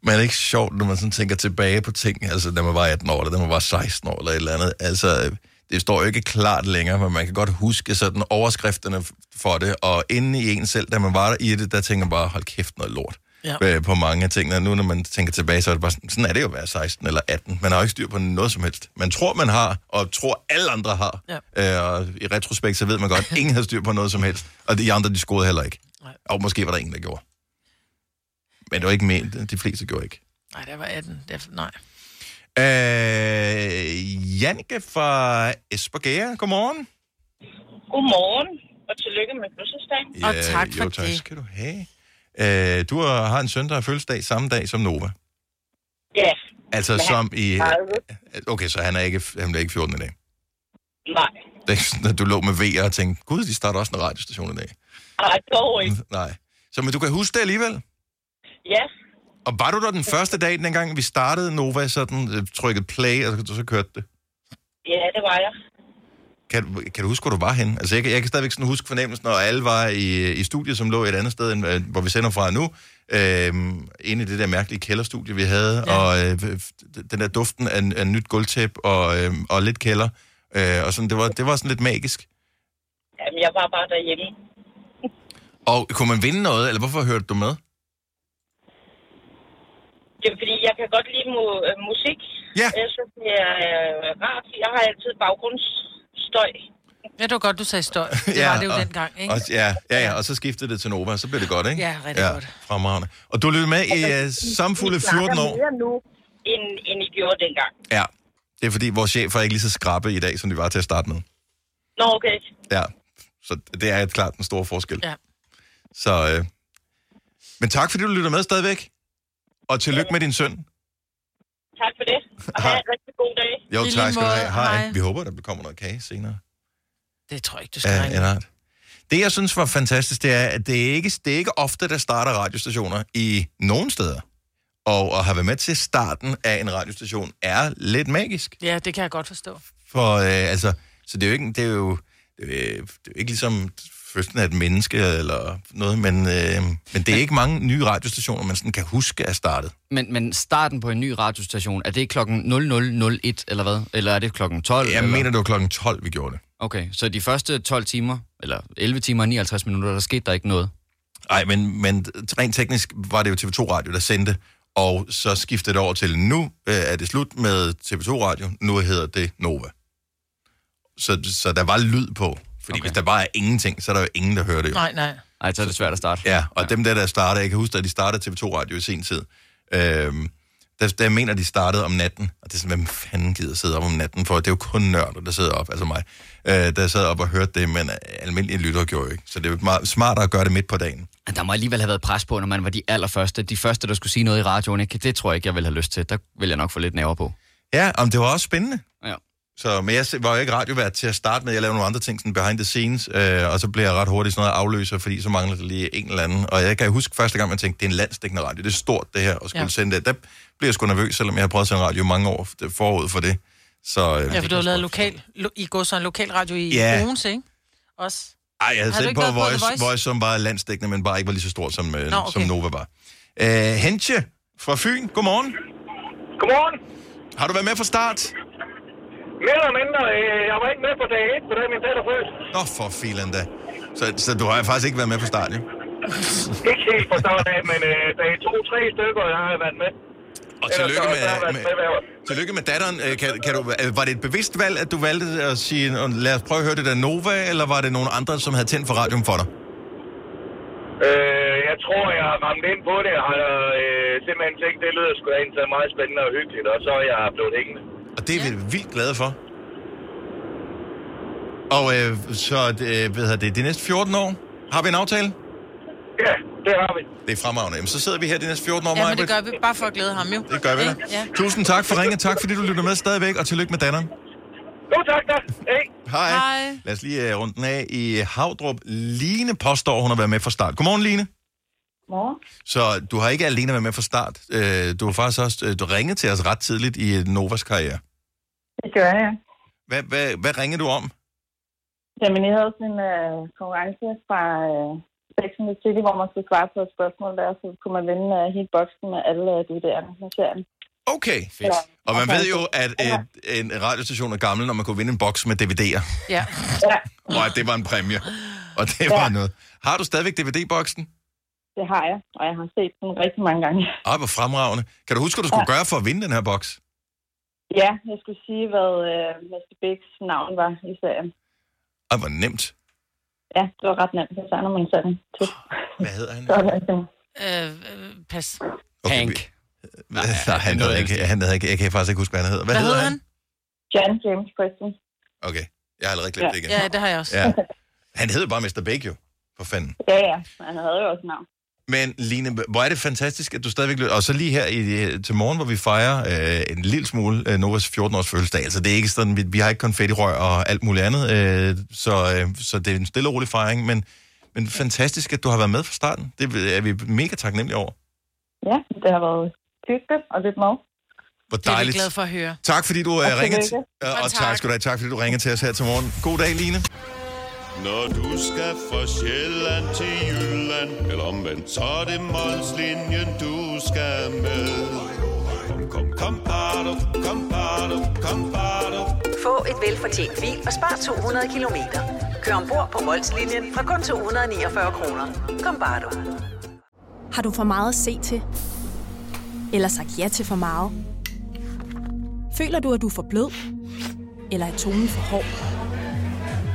Speaker 1: Men er det ikke sjovt, når man sådan tænker tilbage på ting, altså da man var 18 år, eller da man var 16 år, eller et eller andet. Altså, det står jo ikke klart længere, men man kan godt huske sådan overskrifterne f- for det, og inde i en selv, da man var der i det, der tænker man bare, hold kæft noget lort
Speaker 2: Ja.
Speaker 1: øh, på mange af tingene. Nu når man tænker tilbage, så er det bare sådan, sådan er det jo at være 16 eller 18. Man har jo ikke styr på noget som helst. Man tror, man har, og tror alle andre har. Ja. Øh, og i retrospekt, så ved man godt, ingen havde styr på noget som helst, og de andre, de skoede heller ikke.
Speaker 2: Nej.
Speaker 1: Og måske var der ingen, der gjorde. Men det var ikke ment, de fleste gjorde ikke.
Speaker 2: Nej, der var 18. Der, nej.
Speaker 1: Øh, Janke fra Esbergære, godmorgen.
Speaker 14: Godmorgen, og tillykke med fødselsdagen.
Speaker 1: jo, tak skal du have. Øh, du har har en søn, der har fødselsdag samme dag som Nova.
Speaker 14: Ja.
Speaker 1: Altså
Speaker 14: Men
Speaker 1: som i...
Speaker 14: han er 30.
Speaker 1: Okay, så han er ikke, han bliver ikke 14 i dag.
Speaker 14: Nej,
Speaker 1: Det er ikke sådan, at du lå med VR og tænkte, gud, de starter også en radiostation i dag. Mm,
Speaker 14: nej, dog ikke.
Speaker 1: Nej. Så men du kan huske det alligevel?
Speaker 14: Ja,
Speaker 1: Og var du der den første dag, dengang vi startede Nova, sådan øh, trykket play, og så, så kørte det?
Speaker 14: ja, det var jeg.
Speaker 1: Kan, kan du huske, hvor du var henne? Altså, jeg, kan- jeg kan stadigvæk sådan huske fornemmelsen, når alle var i, i studiet, som lå et andet sted, end, øh, hvor vi sender fra nu. Øhm, inde i det der mærkelige kælderstudie, vi havde, ja. og øh, f- den der duften af, af nyt gulvtæp og, øh, og lidt kælder. Øh, og sådan, det, var, det var sådan lidt magisk.
Speaker 14: Jamen, jeg var bare derhjemme.
Speaker 1: Og kunne man vinde noget, eller hvorfor hørte du med?
Speaker 14: Det er fordi, jeg kan godt lide mu- øh, musik.
Speaker 1: Ja.
Speaker 14: Jeg synes, det er øh, rart. Jeg har altid baggrundsstøj.
Speaker 2: Ja, det var godt, du sagde støj. Det ja, var det jo
Speaker 1: og,
Speaker 2: dengang, ikke?
Speaker 1: Og, ja, ja, ja, og så skiftede det til Nova, og så blev det godt, ikke?
Speaker 2: Ja, rigtig godt.
Speaker 1: Fremragende. Og du lyttede med i uh, samfulde 14 år.
Speaker 14: mere nu, end, end I gjorde dengang.
Speaker 1: Ja, det er fordi, vores chefer er ikke lige så skrappe i dag, som de var til at starte med.
Speaker 14: Nå, okay.
Speaker 1: Ja, så det er klart den store forskel.
Speaker 2: Ja.
Speaker 1: Så, øh. men tak fordi du lytter med stadigvæk. Og tillykke med din søn.
Speaker 14: Tak for det. Og have en rigtig god dag.
Speaker 1: Jo, tak skal du have. Hej. Vi håber, der kommer noget kage senere.
Speaker 2: Det tror jeg ikke, du skal
Speaker 1: Ja,
Speaker 2: regne.
Speaker 1: en art. Det, jeg synes var fantastisk, det er, at det er ikke det er ikke ofte, der starter radiostationer i nogen steder. Og at have været med til starten af en radiostation er lidt magisk.
Speaker 2: Ja, det kan jeg godt forstå.
Speaker 1: For, øh, altså, så det er jo ikke, det er jo, det er, jo- det er jo ikke ligesom fødslen af et menneske eller noget, men, øh, men det er ikke mange nye radiostationer, man sådan kan huske er startet.
Speaker 3: Men, men starten på en ny radiostation, er det klokken 0001 eller hvad? Eller er det klokken 12? Jeg eller? mener,
Speaker 1: det var klokken 12, vi gjorde det.
Speaker 3: Okay, så de første 12 timer, eller 11 timer og 59 minutter, der skete der ikke noget?
Speaker 1: Nej, men, men rent teknisk var det jo TV2 Radio, der sendte, og så skiftede det over til, nu øh, er det slut med TV2 Radio, nu hedder det Nova. Så, så der var lyd på, fordi okay. hvis der bare er ingenting, så er der jo ingen, der hører det. Jo.
Speaker 2: Nej, nej.
Speaker 1: Nej, så er det svært at starte. Ja, og ja. dem der, der startede, jeg kan huske, at de startede TV2 Radio i sin tid, øhm, der, der mener, de startede om natten, og det er sådan, hvem fanden gider sidde op om natten for? Det er jo kun nørder, der sidder op, altså mig, øh, der sad op og hørte det, men øh, almindelige lyttere gjorde jo ikke. Så det er jo meget smartere at gøre det midt på dagen.
Speaker 3: Der må alligevel have været pres på, når man var de allerførste. De første, der skulle sige noget i radioen, ikke? det tror jeg ikke, jeg ville have lyst til. Der vil jeg nok få lidt nerver på.
Speaker 1: Ja, om det var også spændende.
Speaker 3: Ja.
Speaker 1: Så, men jeg var jo ikke radiovært til at starte med. Jeg lavede nogle andre ting, sådan behind the scenes, øh, og så blev jeg ret hurtigt sådan noget afløser, fordi så manglede der lige en eller anden. Og jeg kan huske første gang, man tænkte, det er en landsdækkende radio, det er stort det her, og skulle
Speaker 2: Ja.
Speaker 1: ja. sende det. Der blev jeg sgu nervøs, selvom jeg har prøvet at sende radio i mange år forud for det. Så, øh,
Speaker 2: Ja, for du har lavet lokal, lo, I går så en lokal radio i
Speaker 1: Ja.
Speaker 2: yeah. Odense, ikke? Også.
Speaker 1: Ej, jeg havde
Speaker 2: Har du
Speaker 1: sendt
Speaker 2: ikke
Speaker 1: på
Speaker 2: været på The
Speaker 1: Voice, Voice?
Speaker 2: Voice?
Speaker 1: Voice, som var landsdækkende, men bare ikke var lige så stort, som, øh,
Speaker 2: Nå,
Speaker 1: Nå,
Speaker 2: okay.
Speaker 1: okay. som Nova var. Øh, Hentje fra Fyn, godmorgen.
Speaker 12: Godmorgen.
Speaker 1: Har du været med fra start?
Speaker 12: Mere eller mindre, øh, jeg var ikke med på dag 1, for da min datter født.
Speaker 1: Nå, for filen da. Så, så du har faktisk ikke været med fra start, jo?
Speaker 12: Ikke helt fra start af, men øh, dag 2-3 stykker, jeg har været med.
Speaker 1: Og tillykke
Speaker 12: Ellers så- så har jeg været
Speaker 1: med, med,
Speaker 12: med hver år.
Speaker 1: tillykke med datteren. Øh, Kan, kan du, øh, var det et bevidst valg, at du valgte at sige, "Nå, lad os prøve at høre det der Nova, eller var det nogen andre, som havde tændt for radioen for dig?
Speaker 12: Øh, jeg tror, jeg har ramt ind på det, og har øh, simpelthen tænkt, det lyder sgu da egentlig så meget spændende og hyggeligt, og så er jeg blevet hængende.
Speaker 1: Og det er vi vildt glade for. Og øh, så, øh, hvad hedder det, de næste 14 år, har vi en aftale?
Speaker 12: Ja, det har vi.
Speaker 1: Det er fremragende. Jamen, så sidder vi her de næste 14 år,
Speaker 2: Ja, men
Speaker 1: Maj-Brit.
Speaker 2: det gør vi bare for at glæde ham jo.
Speaker 1: Det gør vi da.
Speaker 2: Ja.
Speaker 1: Tusind tak for ringet. Tak fordi du lytter med stadigvæk, og tillykke med datteren.
Speaker 12: Jo, tak da. Hey.
Speaker 1: Hej.
Speaker 2: Hej.
Speaker 1: Lad os lige øh, runde den af i Havdrup. Line påstår, hun har været med fra start. Godmorgen, Line.
Speaker 15: Morgen.
Speaker 1: Så du har ikke alene været med fra start. Øh, Du har faktisk også øh, du ringet til os ret tidligt i øh, Novas karriere.
Speaker 15: Det gør jeg.
Speaker 1: Hvad, hvad, hvad ringede du om?
Speaker 15: Jamen, jeg havde sådan en øh, konkurrence fra øh, Sex and the City, hvor man skulle svare på et spørgsmål der, så kunne man vinde øh, hele boksen med alle øh, de der i serien.
Speaker 1: Okay. Fedt. Og man ved jo, at øh, en radiostation er gammel, når man kunne vinde en boks med DVD'er.
Speaker 2: Ja.
Speaker 1: Og at det var en præmie. Og det var noget. Har du stadigvæk DVD-boksen?
Speaker 15: Det har jeg, og jeg har set den rigtig mange gange.
Speaker 1: Ej, hvor fremragende. Kan du huske, hvad du skulle gøre for at vinde den her boks?
Speaker 15: Ja, jeg skulle sige, hvad øh, Mr. Bigs navn var i serien.
Speaker 1: Ej, hvor nemt.
Speaker 15: Ja, det var ret nemt, så sagde altså, man sådan.
Speaker 1: Hvad hedder han?
Speaker 2: Øh, øh, pas.
Speaker 1: Okay, Hank. Vi, nej, han, hedder ikke, han hedder ikke, jeg kan faktisk ikke huske, hvad han hedder. Hvad,
Speaker 2: Hvad
Speaker 1: hedder
Speaker 2: hed
Speaker 1: han?
Speaker 2: han?
Speaker 15: Jan James Preston.
Speaker 1: Okay, jeg har allerede glemt
Speaker 15: Ja.
Speaker 1: det igen.
Speaker 2: Ja, det har jeg også.
Speaker 1: Ja. Han hed bare Mr. Big, jo. For fanden.
Speaker 15: Ja, ja, han havde jo også navn.
Speaker 1: Men Line, hvor er det fantastisk, at du stadigvæk lytter. Og så lige her i, til morgen, hvor vi fejrer øh, en lille smule øh, Novas 14-års fødselsdag. Altså, det er ikke sådan, vi, vi har ikke konfettirør og alt muligt andet. Øh, så, øh, så det er en stille og rolig fejring. Men, men fantastisk, at du har været med fra starten. Det er vi mega taknemmelige over.
Speaker 15: Ja, det har været hyggeligt og lidt meget.
Speaker 1: Hvor
Speaker 2: Det er vi
Speaker 1: dejligt.
Speaker 2: glade for at høre.
Speaker 1: Tak fordi du
Speaker 2: Og
Speaker 1: øh, ringede.
Speaker 2: tillykke.
Speaker 1: til-
Speaker 2: Og
Speaker 1: og
Speaker 2: tak.
Speaker 1: tak skal du have. Tak fordi du ringede til os her til morgen. God dag, Line.
Speaker 16: Når du skal fra Sjælland til Jylland, eller omvendt, så er det Molslinjen, du skal med. Kom, kom, kom, bado, kom, bado, kom, bado.
Speaker 17: Få et velfortjent bil og spar 200 kilometer. Kør ombord på Molslinjen fra kun 249 kroner. Kom bare du.
Speaker 18: Har du for meget at se til? Eller sagt ja til for meget? Føler du, at du er for blød? Eller er tonen for hård?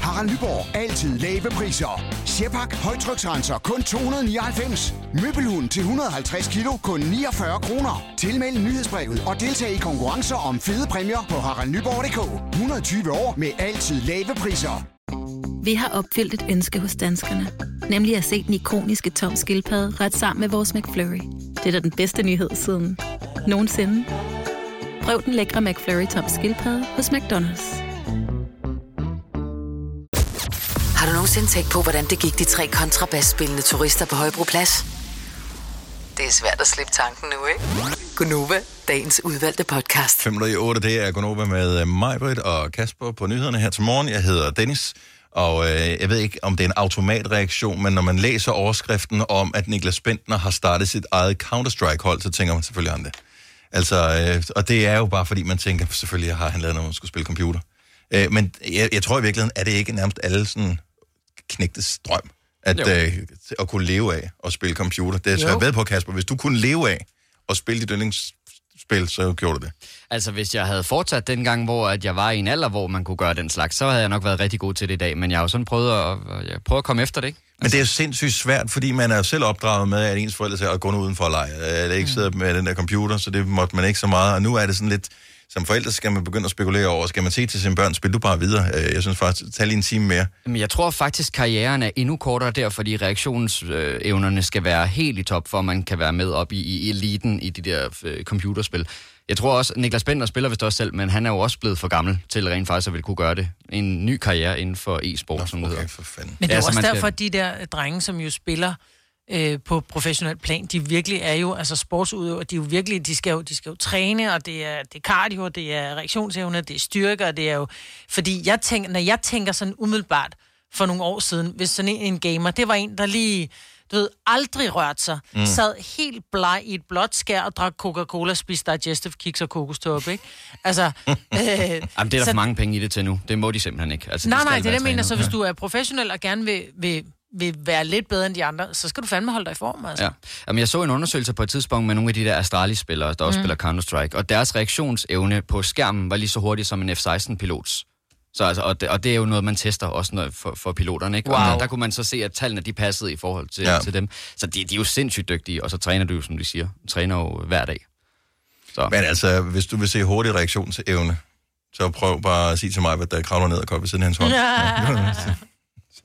Speaker 19: Harald Nyborg. Altid lave priser. Sjehpak. Højtryksrenser. Kun 299. Møbelhund til 150 kilo. Kun 49 kroner. Tilmeld nyhedsbrevet og deltag i konkurrencer om fede præmier på haraldnyborg.dk. 120 år med altid lave priser.
Speaker 20: Vi har opfyldt et ønske hos danskerne. Nemlig at se den ikoniske tom skildpadde ret sammen med vores McFlurry. Det er da den bedste nyhed siden nogensinde. Prøv den lækre McFlurry tom skildpadde hos McDonald's.
Speaker 4: Har du nogensinde tænkt på, hvordan det gik de tre kontrabasspillende turister på Højbroplads? Det er svært at slippe tanken nu, ikke? Gunova, dagens udvalgte podcast.
Speaker 1: 5 i 8, det er Gonova med øh, Majbrit og Kasper på nyhederne her til morgen. Jeg hedder Dennis, og øh, jeg ved ikke, om det er en automatreaktion, men når man læser overskriften om, at Niklas Bentner har startet sit eget Counter-Strike-hold, så tænker man selvfølgelig om det. Altså, øh, og det er jo bare fordi, man tænker, selvfølgelig har han lavet noget, man skulle spille computer. Øh, men jeg, jeg tror i virkeligheden, er det ikke nærmest alle sådan knægtes drøm, at,
Speaker 21: Jo.
Speaker 1: øh, at kunne leve af at spille computer. Det er
Speaker 3: Jo.
Speaker 1: svært ved på, Kasper. Hvis du kunne leve af at spille dit yndlingsspil, så gjorde du det.
Speaker 3: Altså, hvis jeg havde fortsat dengang, hvor at jeg var i en alder, hvor man kunne gøre den slags, så havde jeg nok været rigtig god til det i dag. Men jeg har jo sådan prøvet at, jeg prøver at komme efter det, ikke?
Speaker 1: Men det er jo sindssygt svært, fordi man er jo selv opdraget med, at ens forældre sagde, at gå nu udenfor og lege. Øh, Eller ikke sidde med den der computer, så det måtte man ikke så meget. Og nu er det sådan lidt, som forældre skal man begynde at spekulere over, skal man sige til sine børn, spil du bare videre. Øh, Jeg synes faktisk, tag lige en time mere.
Speaker 3: Men jeg tror faktisk, karrieren er endnu kortere der, fordi reaktionsevnerne skal være helt i top, for at man kan være med op i, i eliten i de der øh, computerspil. Jeg tror også, Niklas Bender spiller vist også selv, men han er jo også blevet for gammel til rent faktisk at ville kunne gøre det. En ny karriere inden for e-sport, som det hedder.
Speaker 1: for fanden.
Speaker 2: Men det er ja, også derfor, at de der drenge, som jo spiller øh, på professionel plan, de virkelig er jo, altså sportsudøvere, de, er jo virkelig, de, skal jo, de skal jo træne, og det er, det er cardio, og det er reaktionsevne, det er styrke, og det er jo... Fordi jeg tænker, når jeg tænker sådan umiddelbart for nogle år siden, hvis sådan en, en gamer, det var en, der lige du ved, aldrig rørte sig,
Speaker 22: Mm.
Speaker 2: mm. sad helt bleg i et blåt skær og drak Coca-Cola, spiste digestive kiks og kokostop, ikke? Altså, øh,
Speaker 3: Jamen, det er der
Speaker 2: så-
Speaker 3: for mange penge i det til nu. Det må de simpelthen ikke. Altså, de
Speaker 2: nej,
Speaker 3: skal
Speaker 2: nej, det er
Speaker 3: være
Speaker 2: det, jeg mener.
Speaker 3: trænet.
Speaker 2: Så hvis du er professionel og gerne vil, vil, vil være lidt bedre end de andre, så skal du fandme holde dig i form, altså.
Speaker 3: Ja. Jamen, jeg så en undersøgelse på et tidspunkt med nogle af de der Astralis-spillere, der også
Speaker 2: Mm.
Speaker 3: mm. spiller Counter-Strike, og deres reaktionsevne på skærmen var lige så hurtig som en F-16-pilots. Så altså, og, det, og det er jo noget, man tester også noget for, for piloterne. Ikke? Og
Speaker 23: Wow.
Speaker 3: der, der kunne man så se, at tallene de passede i forhold til,
Speaker 1: Ja.
Speaker 3: ja. til dem. Så de, de er jo sindssygt dygtige, og så træner du jo, som de siger, træner jo hver dag. Så.
Speaker 1: Men altså, hvis du vil se hurtig reaktionsevne, så prøv bare at sige til mig, hvad der kravler ned og går ved siden af hans hånd.
Speaker 2: Ja.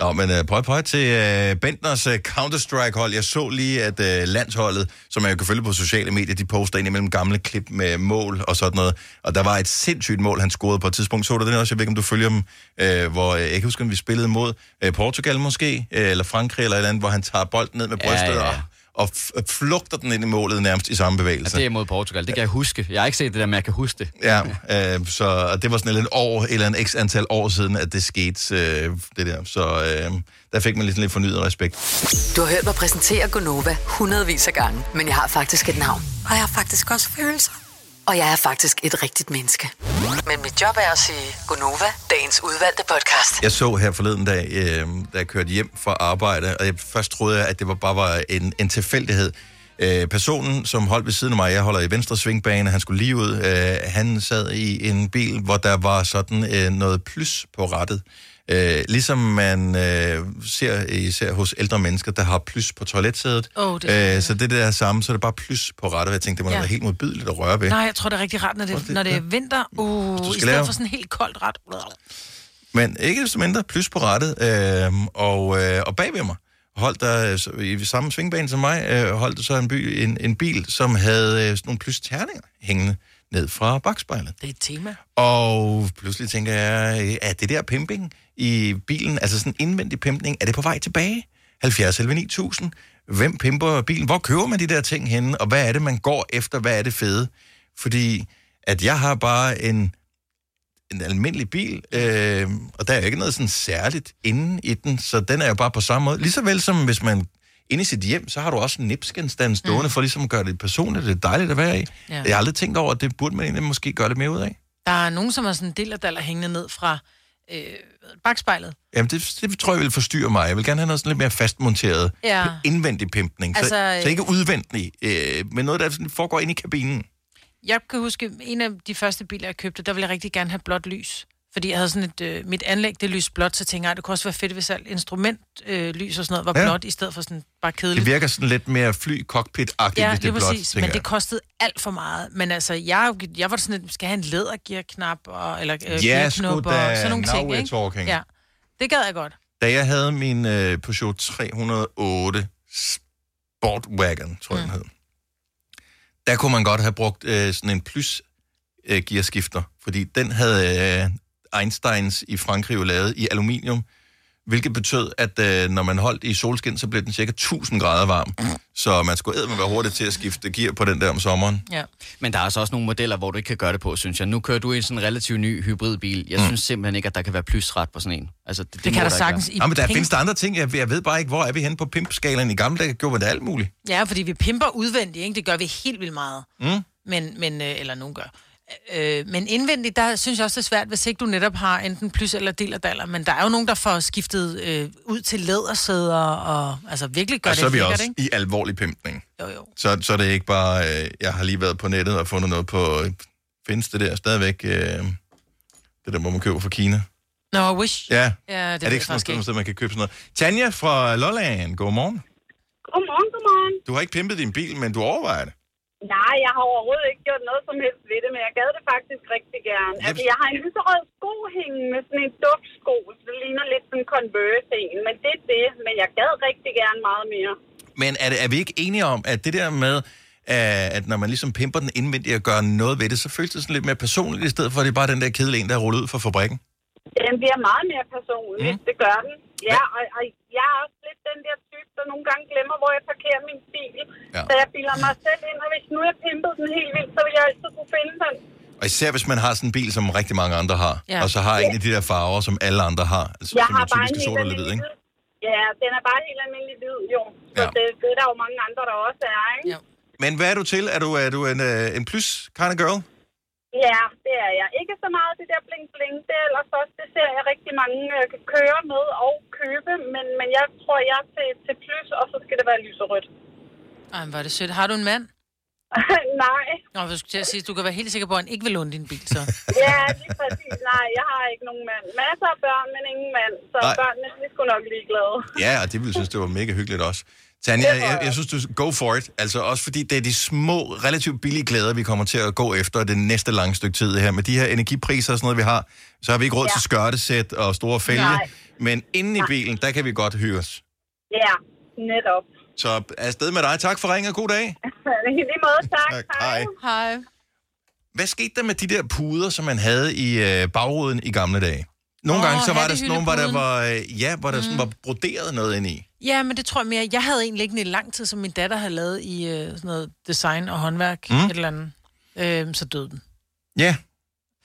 Speaker 1: Nå, men øh, prøv, prøv til øh, Bentners øh, Counter-Strike-hold. Jeg så lige, at øh, landsholdet, som jeg kan følge på sociale medier, de poster ind imellem gamle klip med mål og sådan noget. Og der var et sindssygt mål, han scorede på et tidspunkt. Så du den også? Jeg ved ikke, om du følger dem, øh, hvor øh, jeg kan huske, om vi spillede mod øh, Portugal måske, øh, eller Frankrig eller et eller andet, hvor han tager bolden ned med
Speaker 3: Ja,
Speaker 1: brystet
Speaker 3: ja.
Speaker 1: og, og f- flugter den ind i målet nærmest i samme bevægelse.
Speaker 3: Ja, det er mod Portugal. Det kan jeg huske. Jeg har ikke set det der, men jeg kan huske det.
Speaker 1: Ja, øh, så og det var sådan lidt år, eller en x antal år siden, at det skete, øh, det der. Så øh, der fik man lidt, lidt fornyet respekt.
Speaker 4: Du har hørt mig præsentere Gonova hundredvis af gange, men jeg har faktisk et navn. Og jeg har faktisk også følelser. Og jeg er faktisk et rigtigt menneske. Men mit job er at sige Gonova, dagens udvalgte podcast.
Speaker 1: Jeg så her forleden dag, øh, da jeg kørte hjem fra arbejde, og jeg først troede jeg, at det var bare var en, en tilfældighed. Øh, personen, som holdt ved siden af mig, jeg holder i venstre svingbane, han skulle lige ud, øh, han sad i en bil, hvor der var sådan øh, noget plys på rattet. Øh, ligesom man øh, ser især hos ældre mennesker, der har plys på toiletsædet.
Speaker 2: Åh, det er-
Speaker 1: øh, så det der samme, så er det bare plys på rattet, og jeg tænkte, det må da
Speaker 2: Ja.
Speaker 1: være helt modbydeligt at røre ved.
Speaker 2: Nej, jeg tror, det er rigtig rart, når det, når det er vinter. Uh, i
Speaker 1: skal
Speaker 2: stedet
Speaker 1: lave-
Speaker 2: for sådan en helt koldt ret.
Speaker 1: Men ikke desto mindre, plus på rettet, øh, og, øh, og bagved mig holdt der, øh, så- i samme svingbane som mig, øh, holdt der så en, by, en, en bil, som havde øh, sådan nogle plysterninger hængende ned fra bagspejlet.
Speaker 2: Det er et tema.
Speaker 1: Og pludselig tænker jeg, øh, er det der pimping i bilen, altså sådan indvendig pimpning, er det på vej tilbage? 70 11 9000. Hvem pimper bilen? Hvor køber man de der ting henne? Og hvad er det, man går efter? Hvad er det fede? Fordi at jeg har bare en, en almindelig bil, øh, og der er jo ikke noget sådan særligt inde i den, så den er jo bare på samme måde. Ligeså vel som hvis man inde i sit hjem, så har du også en nipsgenstand stående mm. for ligesom at gøre det personligt. Det er dejligt at være i.
Speaker 2: Ja.
Speaker 1: Ja. Jeg har aldrig tænkt over, at det burde man egentlig måske gøre det mere ud af.
Speaker 2: Der er nogen, som har sådan en del af hængende ned fra øh, bagspejlet.
Speaker 1: Jamen, det, det tror jeg vil forstyrre mig. Jeg vil gerne have noget sådan lidt mere fastmonteret,
Speaker 2: Ja.
Speaker 1: indvendig pimpning. Altså,
Speaker 2: Altså,
Speaker 1: så,
Speaker 2: øh,
Speaker 1: så ikke udvendig, øh, men noget, der sådan foregår inde i kabinen.
Speaker 2: Jeg kan huske, en af de første biler, jeg købte, der ville jeg rigtig gerne have blåt lys. Fordi jeg havde sådan et, øh, mit anlæg, det lys blåt, så tænkte jeg, "Ej, det kunne også være fedt, hvis alt instrumentlys øh, lys og sådan noget var
Speaker 1: Ja.
Speaker 2: ja. blåt, i stedet for sådan bare kedeligt.
Speaker 1: Det virker sådan lidt mere fly-cockpit-agtigt,
Speaker 2: Ja,
Speaker 1: hvis det
Speaker 2: lige
Speaker 1: er blot,
Speaker 2: præcis, men
Speaker 1: tænker
Speaker 2: det kostede alt for meget. Men altså, jeg, jeg var sådan lidt, skal jeg have en lædergearknap, og, eller øh,
Speaker 1: Ja,
Speaker 2: gearknop,
Speaker 1: sgu
Speaker 2: og
Speaker 1: da.
Speaker 2: sådan nogle
Speaker 1: Now
Speaker 2: ting,
Speaker 1: we're
Speaker 2: ikke?
Speaker 1: talking.
Speaker 2: Ja, det gad jeg godt.
Speaker 1: jeg. Da jeg havde min øh, Peugeot 308 Sportwagon, tror jeg, mm. den hed, der kunne man godt have brugt øh, sådan en plus øh, gearskifter, fordi den havde øh, Einsteins i Frankrig jo lavet i aluminium, hvilket betød, at øh, når man holdt i solskin, så blev den cirka 1000 grader varm. Så man skulle eddermame være hurtigt til at skifte gear på den der om sommeren.
Speaker 2: Ja.
Speaker 3: Men der er altså også nogle modeller, hvor du ikke kan gøre det på, synes jeg. Nu kører du i en sådan relativt ny hybridbil. Jeg mm. synes simpelthen ikke, at der kan være plusret på sådan en. Altså, det, det, må ikke være.
Speaker 1: Ja, men der findes der andre ting. Jeg, jeg ved bare ikke, hvor er vi henne på pimpskalaen. I gamle dage gjorde man det alt muligt.
Speaker 2: Ja, fordi vi pimper udvendigt, ikke? Det gør vi helt vildt meget.
Speaker 1: Mm.
Speaker 2: Men, men, øh, eller nogen gør. Øh, men indvendigt, der synes jeg også, det er svært, hvis ikke du netop har enten plus eller del og daller. Men der er jo nogen, der får skiftet øh, ud til lædersæder, og altså virkelig gør
Speaker 1: og
Speaker 2: det
Speaker 1: så er vi
Speaker 2: lækkert,
Speaker 1: også
Speaker 2: ikke?
Speaker 1: i alvorlig pimpning.
Speaker 2: Jo, jo.
Speaker 1: Så, så er det ikke bare, øh, jeg har lige været på nettet og fundet noget på, øh, findes det der stadigvæk, øh, det der, hvor man køber fra Kina?
Speaker 2: Nå, wish.
Speaker 1: Ja,
Speaker 2: ja det
Speaker 1: er det ikke sådan noget, sted, man kan købe sådan noget? Tanja fra Lolland, godmorgen.
Speaker 11: Godmorgen, godmorgen.
Speaker 1: Du har ikke pimpet din bil, men du overvejer det.
Speaker 11: Nej, jeg har overhovedet ikke gjort noget som helst ved det, men jeg gad det faktisk rigtig gerne. Altså, jeg har en lyserød sko hængende med sådan en duftsko, så det ligner lidt sådan en Converse en, men det er det. Men jeg gad rigtig gerne meget mere.
Speaker 1: Men er, det, er vi ikke enige om, at det der med, øh, at når man ligesom pimper den indvendigt og gør noget ved det, så føles det sådan lidt mere personligt, i stedet for at det er bare den der kedelige en, der er rullet ud fra fabrikken?
Speaker 11: Den bliver meget mere personlig, mm. det gør den. Ja, og, og jeg er også lidt den der type, der nogle gange glemmer, hvor jeg parkerer min bil. Ja. Så jeg bilder mig selv ind, og hvis nu jeg pimpede den helt vildt, så vil jeg altid kunne finde den.
Speaker 1: Og især hvis man har sådan en bil, som rigtig mange andre har,
Speaker 11: Ja.
Speaker 1: og så har en af de der farver, som alle andre har, altså,
Speaker 11: jeg
Speaker 1: som
Speaker 11: har
Speaker 1: jo
Speaker 11: bare
Speaker 1: typisk
Speaker 11: en
Speaker 1: er
Speaker 11: helt
Speaker 1: sort eller hvid,
Speaker 11: almindelig
Speaker 1: ikke?
Speaker 11: hvid. Ja, den er bare helt almindelig hvid, jo. Så
Speaker 1: Ja.
Speaker 11: ja. det, det er der jo mange andre, der også er, ikke? Ja.
Speaker 1: Men hvad er du til? Er du, er du en, øh, en plus kind of girl?
Speaker 11: ja, det er jeg. Ikke så meget det der bling-bling, det er ellers også, det ser jeg rigtig mange øh, kan køre med og købe, men, men jeg tror, jeg er til, til plus, og så skal det være lyserødt.
Speaker 2: Ej, hvor er det sødt. Har du en mand?
Speaker 11: Nej.
Speaker 2: Nå, du skulle til at sige, du kan være helt sikker på, at han ikke vil låne din bil, så.
Speaker 11: Ja, lige præcis. Nej, jeg har ikke nogen mand. Masser af børn, men ingen mand. Så
Speaker 1: Nej.
Speaker 11: Nej. børnene de skulle nok lige glade.
Speaker 1: Ja, og det ville synes, det var mega hyggeligt også. Tanja,
Speaker 11: Det tror
Speaker 1: jeg, jeg synes, du go for it. Altså også fordi det er de små, relativt billige glæder, vi kommer til at gå efter det næste lange stykke tid her. Med de her energipriser og sådan noget, vi har, så har vi ikke råd ja.
Speaker 11: Ja.
Speaker 1: til skørtesæt og store fælge.
Speaker 11: Nej.
Speaker 1: Men inde i
Speaker 11: Nej.
Speaker 1: bilen, der kan vi godt hyres.
Speaker 11: Ja, netop.
Speaker 1: Så afsted med dig. Tak for ringen og god dag.
Speaker 11: I lige måde, tak.
Speaker 1: Tak. Hej.
Speaker 2: Hej.
Speaker 1: Hvad skete der med de der puder, som man havde i øh, bagruden i gamle dage? Nogle
Speaker 2: Åh,
Speaker 1: oh, gange så var der sådan nogle, hvor
Speaker 2: hattehyldepuden.
Speaker 1: der var, øh, ja, hvor der mm. sådan var broderet noget ind i.
Speaker 2: Ja, men det tror jeg mere. Jeg havde en liggende i lang tid, som min datter havde lavet i øh, sådan noget design og håndværk,
Speaker 1: Mm.
Speaker 2: mm. et eller andet. Øh, så døde den.
Speaker 1: Ja.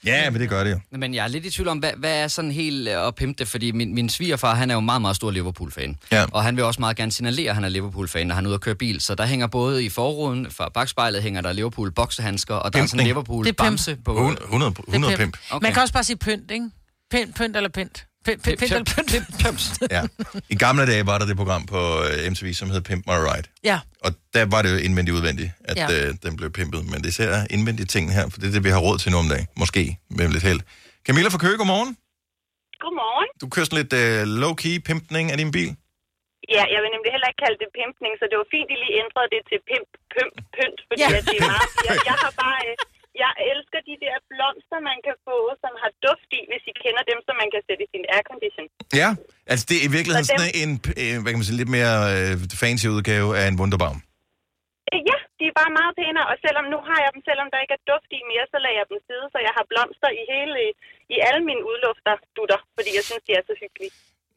Speaker 1: Ja, men det gør det jo.
Speaker 3: Men jeg er lidt i tvivl om, hvad, hvad er sådan helt øh, at pimpe det, fordi min, min svigerfar, han er jo meget, meget stor Liverpool-fan.
Speaker 1: Ja.
Speaker 3: Og han vil også meget gerne signalere, at han er Liverpool-fan, når han er ude og køre bil. Så der hænger både i forruden, fra bagspejlet hænger der Liverpool-boksehandsker, og der er sådan
Speaker 1: Pimpning.
Speaker 2: Det er pimp.
Speaker 3: Liverpool-bamse på.
Speaker 1: 100,
Speaker 2: Det er Okay. Man kan også bare sige pynt, ikke? Pynt, pynt eller pynt. Pynt, pynt, pynt eller pynt. pynt.
Speaker 1: Ja. I gamle dage var der det program på øh, MTV, som hed Pimp My Ride.
Speaker 2: ja.
Speaker 1: Og der var det jo indvendigt udvendigt, at ja.
Speaker 2: Ja.
Speaker 1: øh, den blev pimpet. Men det er især indvendigt ting her, for det er det, vi har råd til nu om dagen. Måske med lidt held. Camilla fra Køge, godmorgen.
Speaker 11: Godmorgen.
Speaker 1: Du kører sådan lidt øh, low-key pimpning af din bil.
Speaker 11: Ja, jeg vil nemlig heller ikke kalde det pimpning, så det var fint, at I lige ændrede det til pimp, pimp, pynt, fordi ja. at det er meget... Jeg, jeg har bare... øh, Jeg elsker de der blomster, man kan få, som har duft i, hvis I kender dem, som man kan sætte i sin aircondition.
Speaker 1: Ja, altså det er i virkeligheden
Speaker 11: Og dem-
Speaker 1: sådan en, øh, hvad kan man sige, lidt mere øh, fancy udgave af en Wunderbaum.
Speaker 11: Øh, Ja, de er bare meget pænere, og selvom nu har jeg dem, selvom der ikke er duft i mere, så lader jeg dem sidde, så jeg har blomster i hele, i alle mine udlufter, dutter, fordi jeg synes, de er så hyggelige.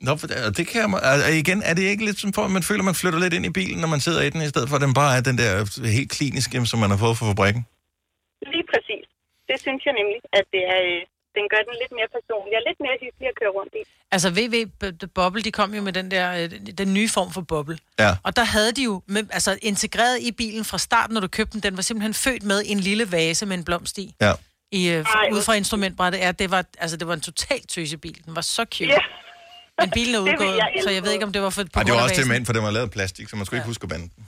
Speaker 1: Nå, for det, og det kan man, altså, igen, er det ikke lidt sådan, for, at man føler, man flytter lidt ind i bilen, når man sidder i den, i stedet for at den bare er den der øh, helt kliniske, som man har fået fra fabrikken?
Speaker 11: Lige præcis. Det synes jeg nemlig, at det er, øh, den gør den lidt mere personlig og lidt mere hyggelig at køre rundt i.
Speaker 2: Altså VV B- D- Bubble, de kom jo med den der, øh, den nye form for boble.
Speaker 1: Ja.
Speaker 2: Og der havde de jo med, altså, integreret i bilen fra starten, når du købte den. Den var simpelthen født med en lille vase med en blomst i.
Speaker 1: Ja.
Speaker 2: i, øh,
Speaker 11: Ej,
Speaker 2: ud fra instrumentbrættet, er, at det var, altså, det var en total tøsebil. Den var så cute.
Speaker 11: Ja.
Speaker 2: Men bilen er
Speaker 11: Det vil
Speaker 2: udgået,
Speaker 11: jeg
Speaker 2: så jeg
Speaker 11: elske.
Speaker 2: ved ikke, om det var for... på
Speaker 1: Ej, det
Speaker 2: grund
Speaker 1: var
Speaker 2: af
Speaker 1: også til
Speaker 2: vasen.
Speaker 1: mænd, for den var lavet af plastik, så man skulle ikke huske at bande den.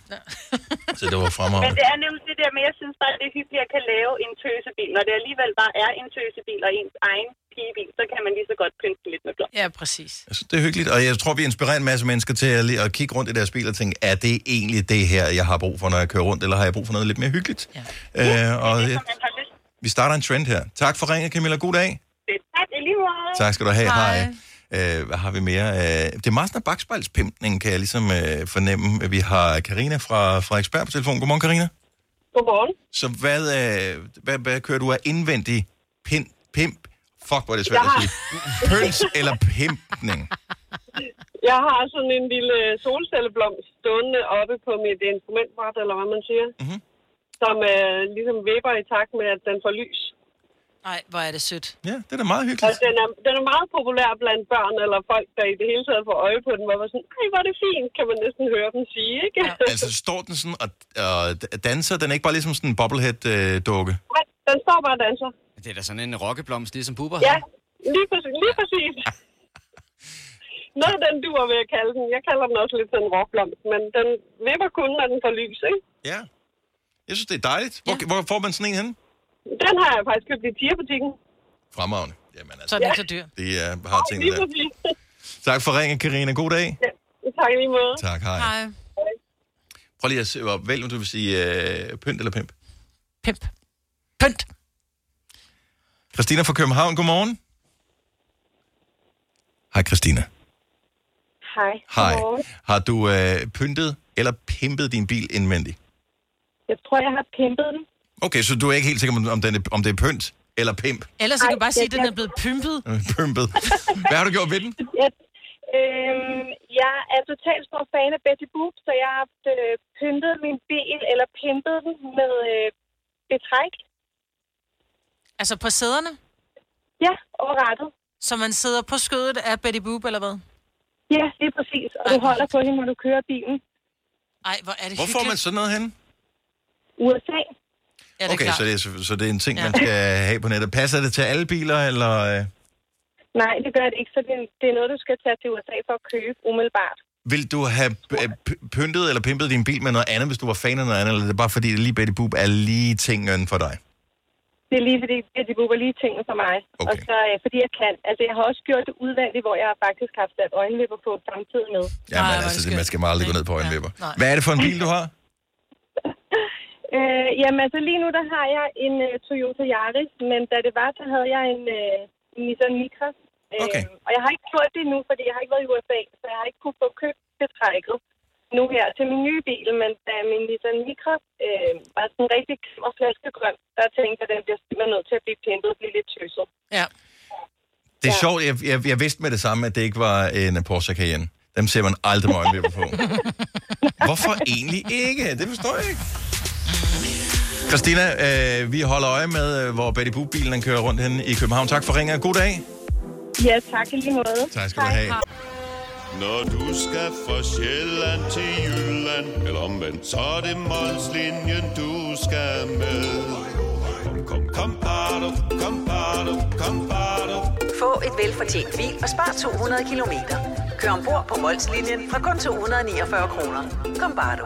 Speaker 1: Så det var
Speaker 11: Men
Speaker 1: fremragende.
Speaker 11: det er nemlig det der med, jeg synes bare, det er hyggeligt, at jeg kan lave en tøsebil. Når det alligevel bare er en tøsebil og ens egen pigebil, så kan man lige så godt pynte den lidt med blå.
Speaker 2: Ja, præcis.
Speaker 1: Så det er hyggeligt, og jeg tror, vi inspirerer en masse mennesker til at, lige- at kigge rundt i deres bil og tænke, er det egentlig det her, jeg har brug for, når jeg kører rundt, eller har jeg brug for noget lidt mere hyggeligt? Ja. Øh, og jeg,
Speaker 11: Man har lyst
Speaker 1: vi starter en trend her. Tak for ringen, Camilla. God dag.
Speaker 11: til det. Tak, i lige måde.
Speaker 1: Tak skal du have. Hej. Øh, hvad har vi mere? Øh, det er meget sådan bagspejlspimpning, kan jeg ligesom øh, fornemme. Vi har Karina fra Frederiksberg på telefon. Godmorgen, Karina.
Speaker 21: Godmorgen.
Speaker 1: Så hvad, øh, hvad, hvad kører du af indvendig pimp? pimp? Fuck, hvor er det svært
Speaker 21: Jeg har-
Speaker 1: at sige. Pøls eller pimpning?
Speaker 21: Jeg har sådan en lille solcelleblomst stående oppe på mit instrumentbræt, eller hvad man siger, mm-hmm. som øh, ligesom vipper i takt med, at den får lys.
Speaker 2: Nej, hvor er det sødt.
Speaker 1: Ja, det er da meget hyggeligt.
Speaker 21: Altså, den, er, den er meget populær blandt børn eller folk, der i det hele taget får øje på den, hvor man sådan, ej, hvor er det fint, kan man næsten høre dem sige, ikke? Ja.
Speaker 1: Altså, står den sådan og, og danser? Den er ikke bare ligesom sådan en bobblehead-dukke?
Speaker 21: den står bare og danser.
Speaker 3: Det er da sådan en rokkeblomst, ligesom Bubber.
Speaker 21: Ja, lige præcis. Lige præcis. Noget af den duer, vil jeg kalde den. Jeg kalder den også lidt sådan en rockblomst, men den vipper kun, når den får lys, ikke?
Speaker 1: Ja. Jeg synes, det er dejligt. Hvor, ja. hvor får man sådan en henne?
Speaker 21: Den har jeg faktisk købt i tierbutikken.
Speaker 1: Fremragende. altså,
Speaker 21: Så er den ikke så dyr.
Speaker 1: Det er, har tingene
Speaker 21: Lige
Speaker 1: der.
Speaker 21: præcis.
Speaker 1: Tak for ringen, Karina. God dag.
Speaker 21: Tak i lige måde.
Speaker 1: Tak, hej.
Speaker 21: Hej.
Speaker 1: Prøv lige at se, hvor- vælg, om du vil sige øh, pynt eller pimp.
Speaker 2: Pimp. Pynt.
Speaker 1: Christina fra København, godmorgen. Hej, Christina.
Speaker 22: Hej.
Speaker 1: Hej.
Speaker 22: Godmorgen.
Speaker 1: Har du øh, pyntet eller pimpet din bil indvendigt?
Speaker 22: Jeg tror, jeg har pimpet den.
Speaker 1: Okay, så du er ikke helt sikker, om- om, den er, om det er pynt eller pimp?
Speaker 2: Ellers så kan
Speaker 22: Ej,
Speaker 2: du bare sige,
Speaker 22: jeg-
Speaker 2: at den er blevet pympet.
Speaker 1: Øh, Pimpet. Hvad har du gjort ved den?
Speaker 22: Jeg, øhm, jeg er totalt stor fan af Betty Boop, så jeg har øh, pyntet min bil, eller pimpet den med øh, betræk.
Speaker 2: Altså på sæderne?
Speaker 22: Ja, over rattet.
Speaker 2: Så man sidder på skødet af Betty Boop, eller hvad?
Speaker 22: Ja, det er præcis. Og du holder på hende, når du kører bilen.
Speaker 2: Ej, hvor er det
Speaker 1: Hvor får man sådan noget henne?
Speaker 22: USA.
Speaker 2: Ja,
Speaker 1: okay, så det, er, så det er en ting, ja. man skal have på nettet. Passer det til alle biler, eller... Øh,
Speaker 22: Nej, det gør det ikke, så det, er- det er noget, du skal tage til USA for at købe umiddelbart.
Speaker 1: vil du have øh, p- pyntet eller pimpet din bil med noget andet, hvis du var fan af noget andet, eller er det bare fordi, det lige Betty Boop er lige tingen for dig?
Speaker 22: Det er lige fordi, at de booker lige tingene for mig. Okay. Og så øh, fordi jeg kan. Altså, jeg har også gjort det udvendigt, hvor jeg har faktisk haft sat øjenvipper på samtidig med.
Speaker 1: Jamen Ej, altså, det, man skal meget gå ned på øjenvipper. Ja. Hvad er det for en bil, du har?
Speaker 22: Øh, jamen, altså lige nu, der har jeg en øh, Toyota Yaris, men da det var, der havde jeg en øh, Nissan Micra. Øh, okay. Og jeg har ikke gjort det endnu, fordi jeg har ikke været i USA, så jeg har ikke kunne få købt betrækket nu her til min nye bil, men da min Nissan Micra øh, var sådan rigtig klam og flaskegrøn, der tænkte jeg, at den bliver simpelthen nødt til at blive pimpet og blive lidt tøset.
Speaker 2: Ja.
Speaker 1: Det er ja. sjovt, jeg, jeg, jeg vidste med det samme, at det ikke var en Porsche Cayenne. Dem ser man aldrig med øjenvipper på. Hvorfor egentlig ikke? Det forstår jeg ikke. Christina, øh, vi holder øje med, øh, hvor Betty Boop-bilen den kører rundt henne i København. Tak for ringen. God dag.
Speaker 22: Ja, tak i lige måde.
Speaker 1: Tak skal du have.
Speaker 16: Når du skal fra Sjælland til Jylland Eller omvendt, så er det Molslinjen, du skal med Kom, kom, kom, bado, kom, bado, kom, bado.
Speaker 17: Få et velfortjent bil og spar 200 kilometer. Kør ombord på Molslinjen fra kun 249 kroner. Kom bare du.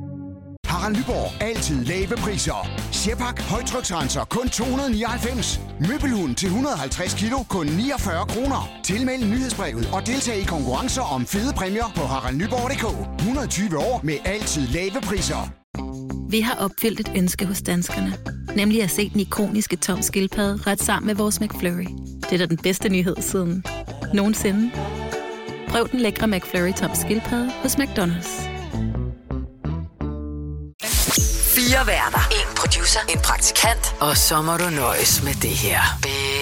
Speaker 19: Harald Nyborg. Altid lave priser. Sjehpak. Højtryksrenser. Kun 299. Møbelhund til 150 kilo. Kun 49 kroner. Tilmeld nyhedsbrevet og deltag i konkurrencer om fede præmier på haraldnyborg.dk. 120 år med altid lave priser.
Speaker 20: Vi har opfyldt et ønske hos danskerne. Nemlig at se den ikoniske tom skildpadde ret sammen med vores McFlurry. Det er da den bedste nyhed siden nogensinde. Prøv den lækre McFlurry tom skildpadde hos McDonald's.
Speaker 4: Fire værter. En producer. En praktikant. Og så må du nøjes med det her. Beklager.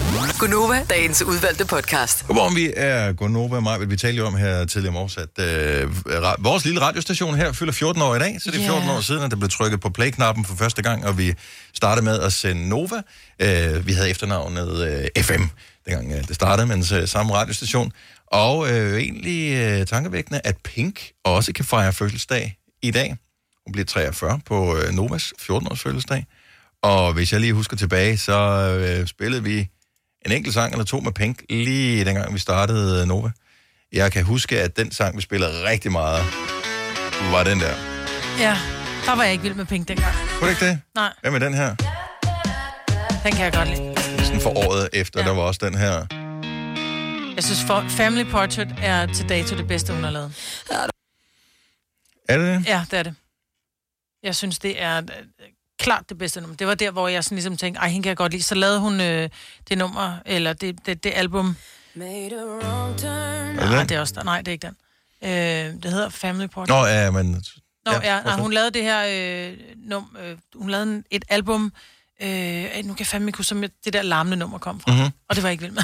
Speaker 4: Beklager. Gunova, dagens udvalgte podcast.
Speaker 1: Godmorgen, vi er Gonova og mig, vi talte jo om her tidligere om års, at øh, ra- vores lille radiostation her fylder 14 år i dag, så det er 14
Speaker 5: Ja.
Speaker 1: år siden, at der blev trykket på play-knappen for første gang, og vi startede med at sende Nova. Øh, vi havde efternavnet øh, FM, dengang øh, det startede, men øh, samme radiostation. Og øh, egentlig øh, tankevækkende, at Pink også kan fejre fødselsdag i dag. Hun bliver 43 på øh, Novas 14-års fødselsdag. Og hvis jeg lige husker tilbage, så øh, spillede vi en enkelt sang eller to med Pink, lige dengang vi startede øh, Nova. Jeg kan huske, at den sang, vi spillede rigtig meget, var den der.
Speaker 2: Ja, der var jeg ikke vild med penge dengang.
Speaker 1: Kunne det ikke det?
Speaker 2: Nej,
Speaker 1: Hvad med den her?
Speaker 2: den kan jeg godt lide.
Speaker 1: Sådan for året efter, ja. der var også den her.
Speaker 2: Jeg synes, for Family Portrait er til dato det bedste, hun har lavet.
Speaker 1: Er det det?
Speaker 2: Ja, det er det. Jeg synes, det er øh, klart det bedste nummer. Det var der, hvor jeg sådan ligesom tænkte, ej, hende kan jeg godt lide. Så lavede hun øh, det nummer, eller det, det, det album.
Speaker 1: den?
Speaker 2: Nej, det er også, nej, det er ikke den. Øh, det hedder Family Portrait.
Speaker 1: Nå, ja, men...
Speaker 2: Nå,
Speaker 1: ja,
Speaker 2: ja, ja,
Speaker 1: hvorfor?
Speaker 2: hun lavede det her, øh, num, øh, hun lavede en- et album, øh, ej, nu kan jeg fandme ikke huske, som det der larmende nummer kom fra.
Speaker 1: Mhm.
Speaker 2: Og det var jeg ikke vild med.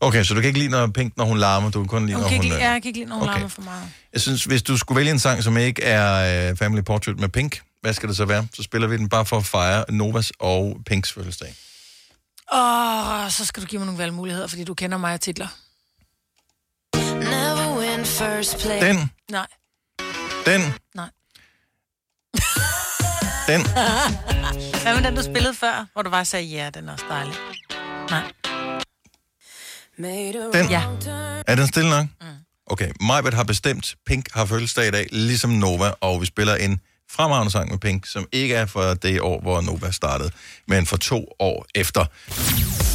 Speaker 1: Okay, så du kan ikke lide, når Pink, når hun larmer, du kan kun lide,
Speaker 2: Hun
Speaker 1: når
Speaker 2: kan
Speaker 1: hun...
Speaker 2: ikke lide,
Speaker 1: øh,
Speaker 2: ja, jeg kan ikke lide, når hun
Speaker 1: Okay.
Speaker 2: okay. larmer for meget.
Speaker 1: Jeg synes, hvis du skulle vælge en sang, som ikke er øh, Family Portrait med Pink, hvad skal det så være? Så spiller vi den bare for at fejre Novas og Pinks fødselsdag.
Speaker 2: Åh, oh, så skal du give mig nogle valgmuligheder, fordi du kender mig og titler. Never win first place.
Speaker 1: Den.
Speaker 2: Nej.
Speaker 1: Den.
Speaker 2: Nej.
Speaker 1: Den.
Speaker 2: Hvad med den, du spillede før, hvor du bare sagde, ja, den er også dejlig. Nej.
Speaker 1: Den.
Speaker 2: Ja.
Speaker 1: Er den stille nok? Mm. Okay, Majbert har bestemt, Pink har fødselsdag i dag, ligesom Nova, og vi spiller en fremragende sang med Pink, som ikke er fra det år, hvor Nova startede, men for to år efter.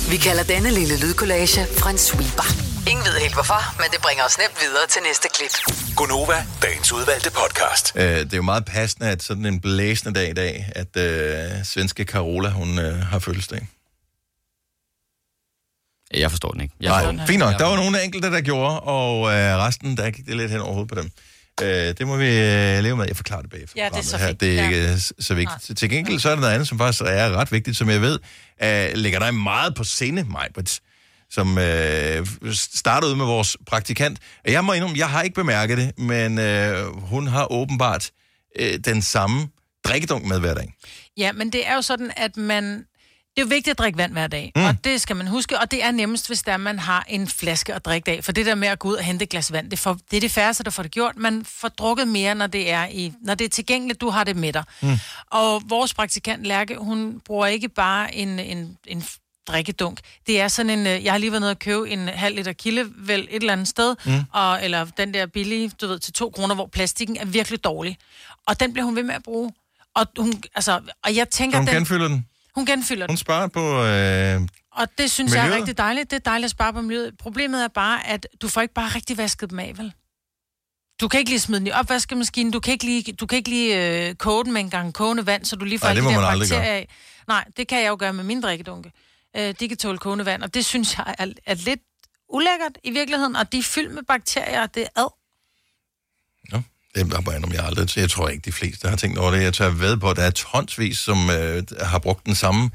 Speaker 4: Vi kalder denne lille lydkollage en sweeper. Ingen ved helt hvorfor, men det bringer os nemt videre til næste klip.
Speaker 10: Gunova, dagens udvalgte podcast.
Speaker 1: Øh, det er jo meget passende, at sådan en blæsende dag i dag, at øh, svenske Carola, hun øh, har fødselsdag.
Speaker 3: Jeg forstår den ikke. Jeg
Speaker 1: Jeg
Speaker 3: forstår den
Speaker 1: Nej,
Speaker 3: her.
Speaker 1: fint
Speaker 3: Jeg-
Speaker 1: nok. Der var nogle enkelte, der gjorde, og øh, resten, der gik det lidt hen over hovedet på dem. Øh, det må vi øh, leve med. Jeg forklarer det bagefter.
Speaker 5: Ja, det er
Speaker 1: programmet
Speaker 5: så
Speaker 1: her.
Speaker 5: fint.
Speaker 1: Det
Speaker 5: Ja.
Speaker 1: er ikke øh, s- så vigtigt.
Speaker 5: Nej.
Speaker 1: Til gengæld så er der noget andet, som faktisk er ret vigtigt, som jeg ved, øh, ligger dig meget på sinde, Majbrit, som øh, startede ud med vores praktikant. Jeg må indrømme, jeg har ikke bemærket det, men øh, hun har åbenbart øh, den samme drikkedunk med hver dag.
Speaker 2: Ja, men det er jo sådan, at man... Det er jo vigtigt at drikke vand hver dag,
Speaker 1: Mm.
Speaker 2: mm. og det skal man huske. Og det er nemmest, hvis der man har en flaske at drikke af. For det der med at gå ud og hente et glas vand, det, får, det er det færreste, der får det gjort. Man får drukket mere, når det er, i, når det er tilgængeligt. Du har det med dig. Mm. Og vores praktikant Lærke, hun bruger ikke bare en, en, en f- drikkedunk. Det er sådan en, øh, jeg har lige været nede og købe en halv liter kilde, vel et eller andet sted,
Speaker 6: Mm.
Speaker 2: mm. og, eller den der billige, du ved, til to kroner, hvor plastikken er virkelig dårlig. Og den bliver hun ved med at bruge. Og, hun, altså, og jeg
Speaker 1: Så
Speaker 2: tænker,
Speaker 1: hun
Speaker 2: den,
Speaker 1: genfylder den.
Speaker 2: hun genfylder
Speaker 1: Hun
Speaker 2: den.
Speaker 1: sparer på... Øh,
Speaker 2: Og det synes jeg
Speaker 1: Miljøet?
Speaker 2: er rigtig dejligt. Det er dejligt at spare på miljøet. Problemet er bare, at du får ikke bare rigtig vasket dem af, vel? Du kan ikke lige smide den i opvaskemaskinen, du kan ikke lige, du kan ikke lige øh, koge den med en gang kogende vand, så du lige får
Speaker 1: Ej,
Speaker 2: alle
Speaker 1: det må
Speaker 2: de der
Speaker 1: man aldrig
Speaker 2: bakterier
Speaker 1: gøre.
Speaker 2: af. Nej, det kan jeg jo gøre med min drikkedunke. Øh, de kan tåle kogende vand, og det synes jeg er, er lidt ulækkert i virkeligheden, og de er fyldt med bakterier, og det er ad.
Speaker 1: Det er bare om jeg aldrig... Jeg tror ikke, de fleste har tænkt over det. Jeg tør ved på, at der er tonsvis, som øh, har brugt den samme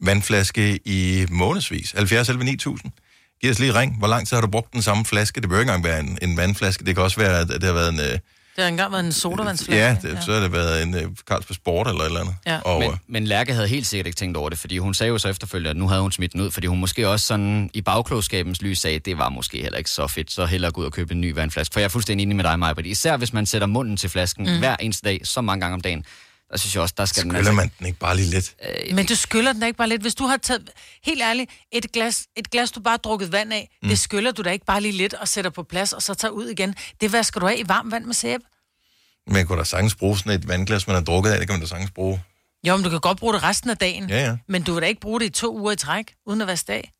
Speaker 1: vandflaske i månedsvis. 70 11 9000. Giv os lige ring. Hvor lang tid har du brugt den samme flaske? Det behøver ikke engang være en, en vandflaske. Det kan også være, at det har været en... Øh,
Speaker 2: Det har engang været en sodavandsflaske.
Speaker 1: ja, det, så har det været en øh, Carlsberg Sport eller et eller andet.
Speaker 2: Ja.
Speaker 1: Og, øh,
Speaker 3: men, men Lærke havde helt sikkert ikke tænkt over det, fordi hun sagde jo så efterfølgende, at nu havde hun smidt den ud, fordi hun måske også sådan i bagklogskabens lys sagde, at det var måske heller ikke så fedt, så hellere gå ud og købe en ny vandflaske. For jeg er fuldstændig enig med dig, Maja, især hvis man sætter munden til flasken
Speaker 2: Mm.
Speaker 3: mm. hver eneste dag, så mange gange om dagen, der synes jeg også, der skal den altså-
Speaker 1: Skyller man den ikke bare lige lidt?
Speaker 3: Øh,
Speaker 2: Men du skyller den da ikke bare lidt. Hvis du har taget, helt ærligt, et glas, et glas du bare har drukket vand af,
Speaker 1: Mm.
Speaker 2: mm. det skyller du da ikke bare lige lidt og sætter på plads, og så tager ud igen. Det vasker du af i varmt vand med sæbe.
Speaker 1: man kunne da sagtens bruge sådan et vandglas, man har drukket af. Det kan man da sagtens bruge.
Speaker 2: Jo, men du kan godt bruge det resten af dagen.
Speaker 1: Ja, ja.
Speaker 2: Men du vil da ikke bruge det i to uger i træk, uden at vaske det af.